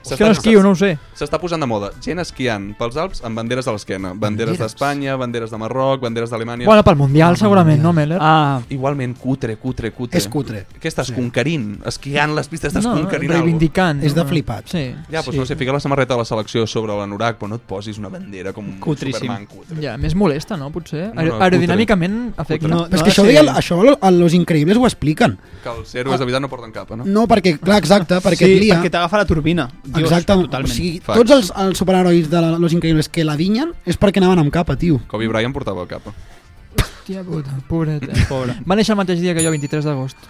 G: És que no esquio, no ho sé.
F: S'està posant de moda. Gent esquiant pels Alps amb banderes a l'esquena. Banderes d'Espanya, banderes de Marroc, banderes d'Alemanya...
G: Bueno, pel Mundial segurament, no, Meller?
H: Ah,
F: Igualment, cutre, cutre, cutre.
E: És cutre.
F: Què estàs sí. conquerint? Esquiant les pistes, estàs
G: no,
F: conquerint alguna cosa.
G: reivindicant.
E: És de
G: no?
E: flipat.
G: Sí.
F: Ja, doncs no sé, fica la samarreta de la selecció sobre l'anorac, però no et posis una bandera com un
H: Cutríssim.
F: Superman cutre.
G: Ja, més molesta, no, potser?
F: No, no,
G: Aerodinàmicament afecta.
E: No, però és que això, ho deia, això a Los Increïbles ho expliquen.
F: Que els héroes de vida no porten capa, no?
E: No, perquè, clar, exacte, perquè
H: sí,
E: et lia...
H: perquè t'agafa la turbina. Dios,
E: exacte,
H: totalment.
E: o sigui,
F: Facts.
E: tots els, els superherois de la, Los Increïbles que la dinyen és perquè anaven amb capa, tio.
F: Kobe Bryant portava capa.
G: Hòstia puta, pobret. eh?
H: Pobre.
G: Va néixer el mateix dia que jo, 23 d'agost.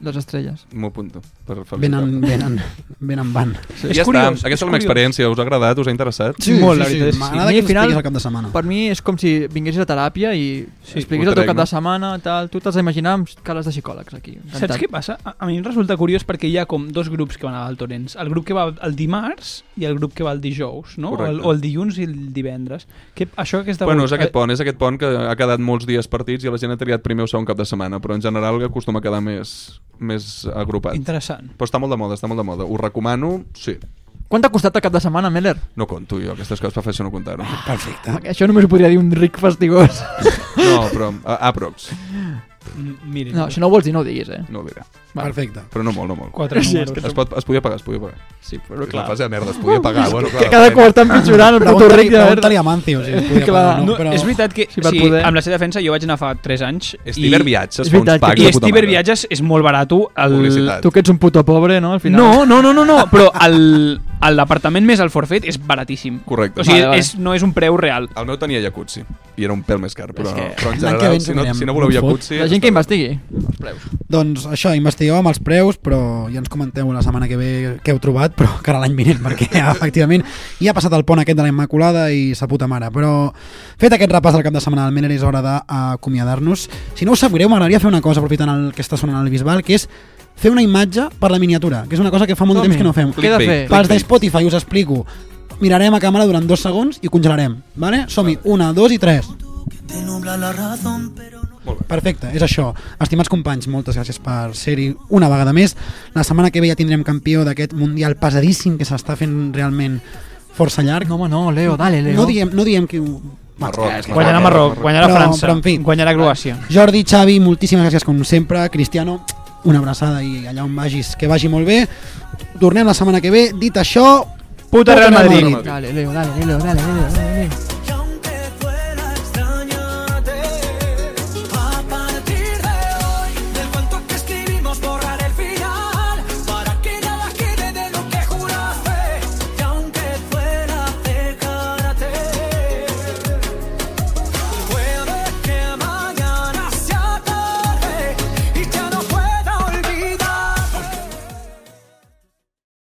G: Les estrelles.
F: M'ho apunto. Per fabricar.
E: Venen, venen, venen, van.
F: I ja està, aquesta és la meva experiència. Us ha agradat? Us ha interessat?
H: Sí, Molt, la veritat és que sí.
E: M'agrada
G: I
E: que
G: al
E: ens
G: final-
E: expliquis el cap de setmana.
G: Per mi és com si vinguessis a teràpia i sí, expliquis
F: ho
G: el teu
F: trec,
G: cap
F: no?
G: de setmana, tal. Tu t'has d'imaginar amb cales de psicòlegs aquí.
H: Saps què passa? A, a mi em resulta curiós perquè hi ha com dos grups que van a Valtorens. El grup que va el dimarts i el grup que va el dijous, no? O el,
F: Correcte.
H: o el dilluns i el divendres. Que, això que eh, és de...
F: Bueno, és aquest pont, és aquest pont que ha quedat molts dies partits i la gent ha triat primer o segon cap de setmana, però en general acostuma a quedar més, més agrupat.
H: Interessant.
F: Però està molt de moda, està molt de moda. Us recomano, sí.
G: Quant t'ha costat el cap de setmana, Meller?
F: No conto jo, aquestes coses prefereixo no contar-ho.
E: Perfecte.
G: Això només ho podria dir un ric fastigós.
F: No, però a, aprox,
H: M- Miren.
G: No, això no ho vols dir, no ho diguis, eh?
F: no ho diré.
E: Perfecte.
F: Però no molt, no molt.
H: Quatre
G: Sí, és
H: números.
G: que
F: Es, pot, es podia pagar, es podia pagar.
H: Sí, però
F: És
H: clar.
F: una fase de merda, es podia pagar. bueno, clar,
G: Cada
F: depèn.
G: cop està empitjorant el puto
E: Pregunta-li
G: ric de
E: pregunta
G: merda.
E: a Mancio si es podia
G: Clar,
E: pagar o no,
H: No,
E: però...
H: És veritat que,
G: Si
H: sí,
G: per poder.
H: amb la seva defensa, jo vaig anar fa 3 anys.
F: Estiver
H: i-
F: Viatges
G: és
F: fa uns
G: veritat que-
F: packs
H: I
F: de puta
H: Estiver
F: mare.
H: Viatges és molt barat. El,
F: Publicitat.
G: Tu que ets un puto pobre, no? Al final.
H: No, no, no, no, no, però el, el departament més al forfet és baratíssim.
F: Correcte.
H: O sigui,
G: Vale, vale.
H: És, no és un preu real.
F: El meu tenia Jacuzzi i era un pèl més car, però,
G: És
F: que...
G: que-
F: però en
E: L'any que
F: general,
E: ve ens
F: si no,
E: anirem.
F: si no voleu
E: Un fot.
F: Jacuzzi...
G: La gent que investigui.
E: Doncs això, investigueu amb els preus, però ja ens comenteu la setmana que ve què heu trobat, però cara l'any vinent, perquè efectivament ja ha passat el pont aquest de la Immaculada i sa puta mare. Però fet aquest repàs del cap de setmana, almenys és hora d'acomiadar-nos. Si no us sap greu, m'agradaria fer una cosa aprofitant el que està sonant al Bisbal, que és fer una imatge per la miniatura, que és una cosa que fa molt de temps que no fem.
G: Què he de fer?
E: Pels de Spotify, us explico. Mirarem a càmera durant dos segons i congelarem. Vale? Som-hi, una, dos i tres. Perfecte, és això. Estimats companys, moltes gràcies per ser-hi una vegada més. La setmana que ve ja tindrem campió d'aquest Mundial pesadíssim que s'està fent realment força llarg.
G: No, home, no, Leo, dale, Leo.
E: No diem, no diem que... ho-
F: Marroc,
H: Guanyarà Marroc, guanyarà
E: Però,
H: França,
E: però en fi.
H: guanyarà Croàcia.
E: Jordi, Xavi, moltíssimes gràcies com sempre. Cristiano, una abraçada i allà on vagis, que vagi molt bé. Tornem la setmana que ve. Dit això...
H: Puta Real Madrid.
G: Dale, Leo, dale, Leo, dale, Leo, dale, Leo.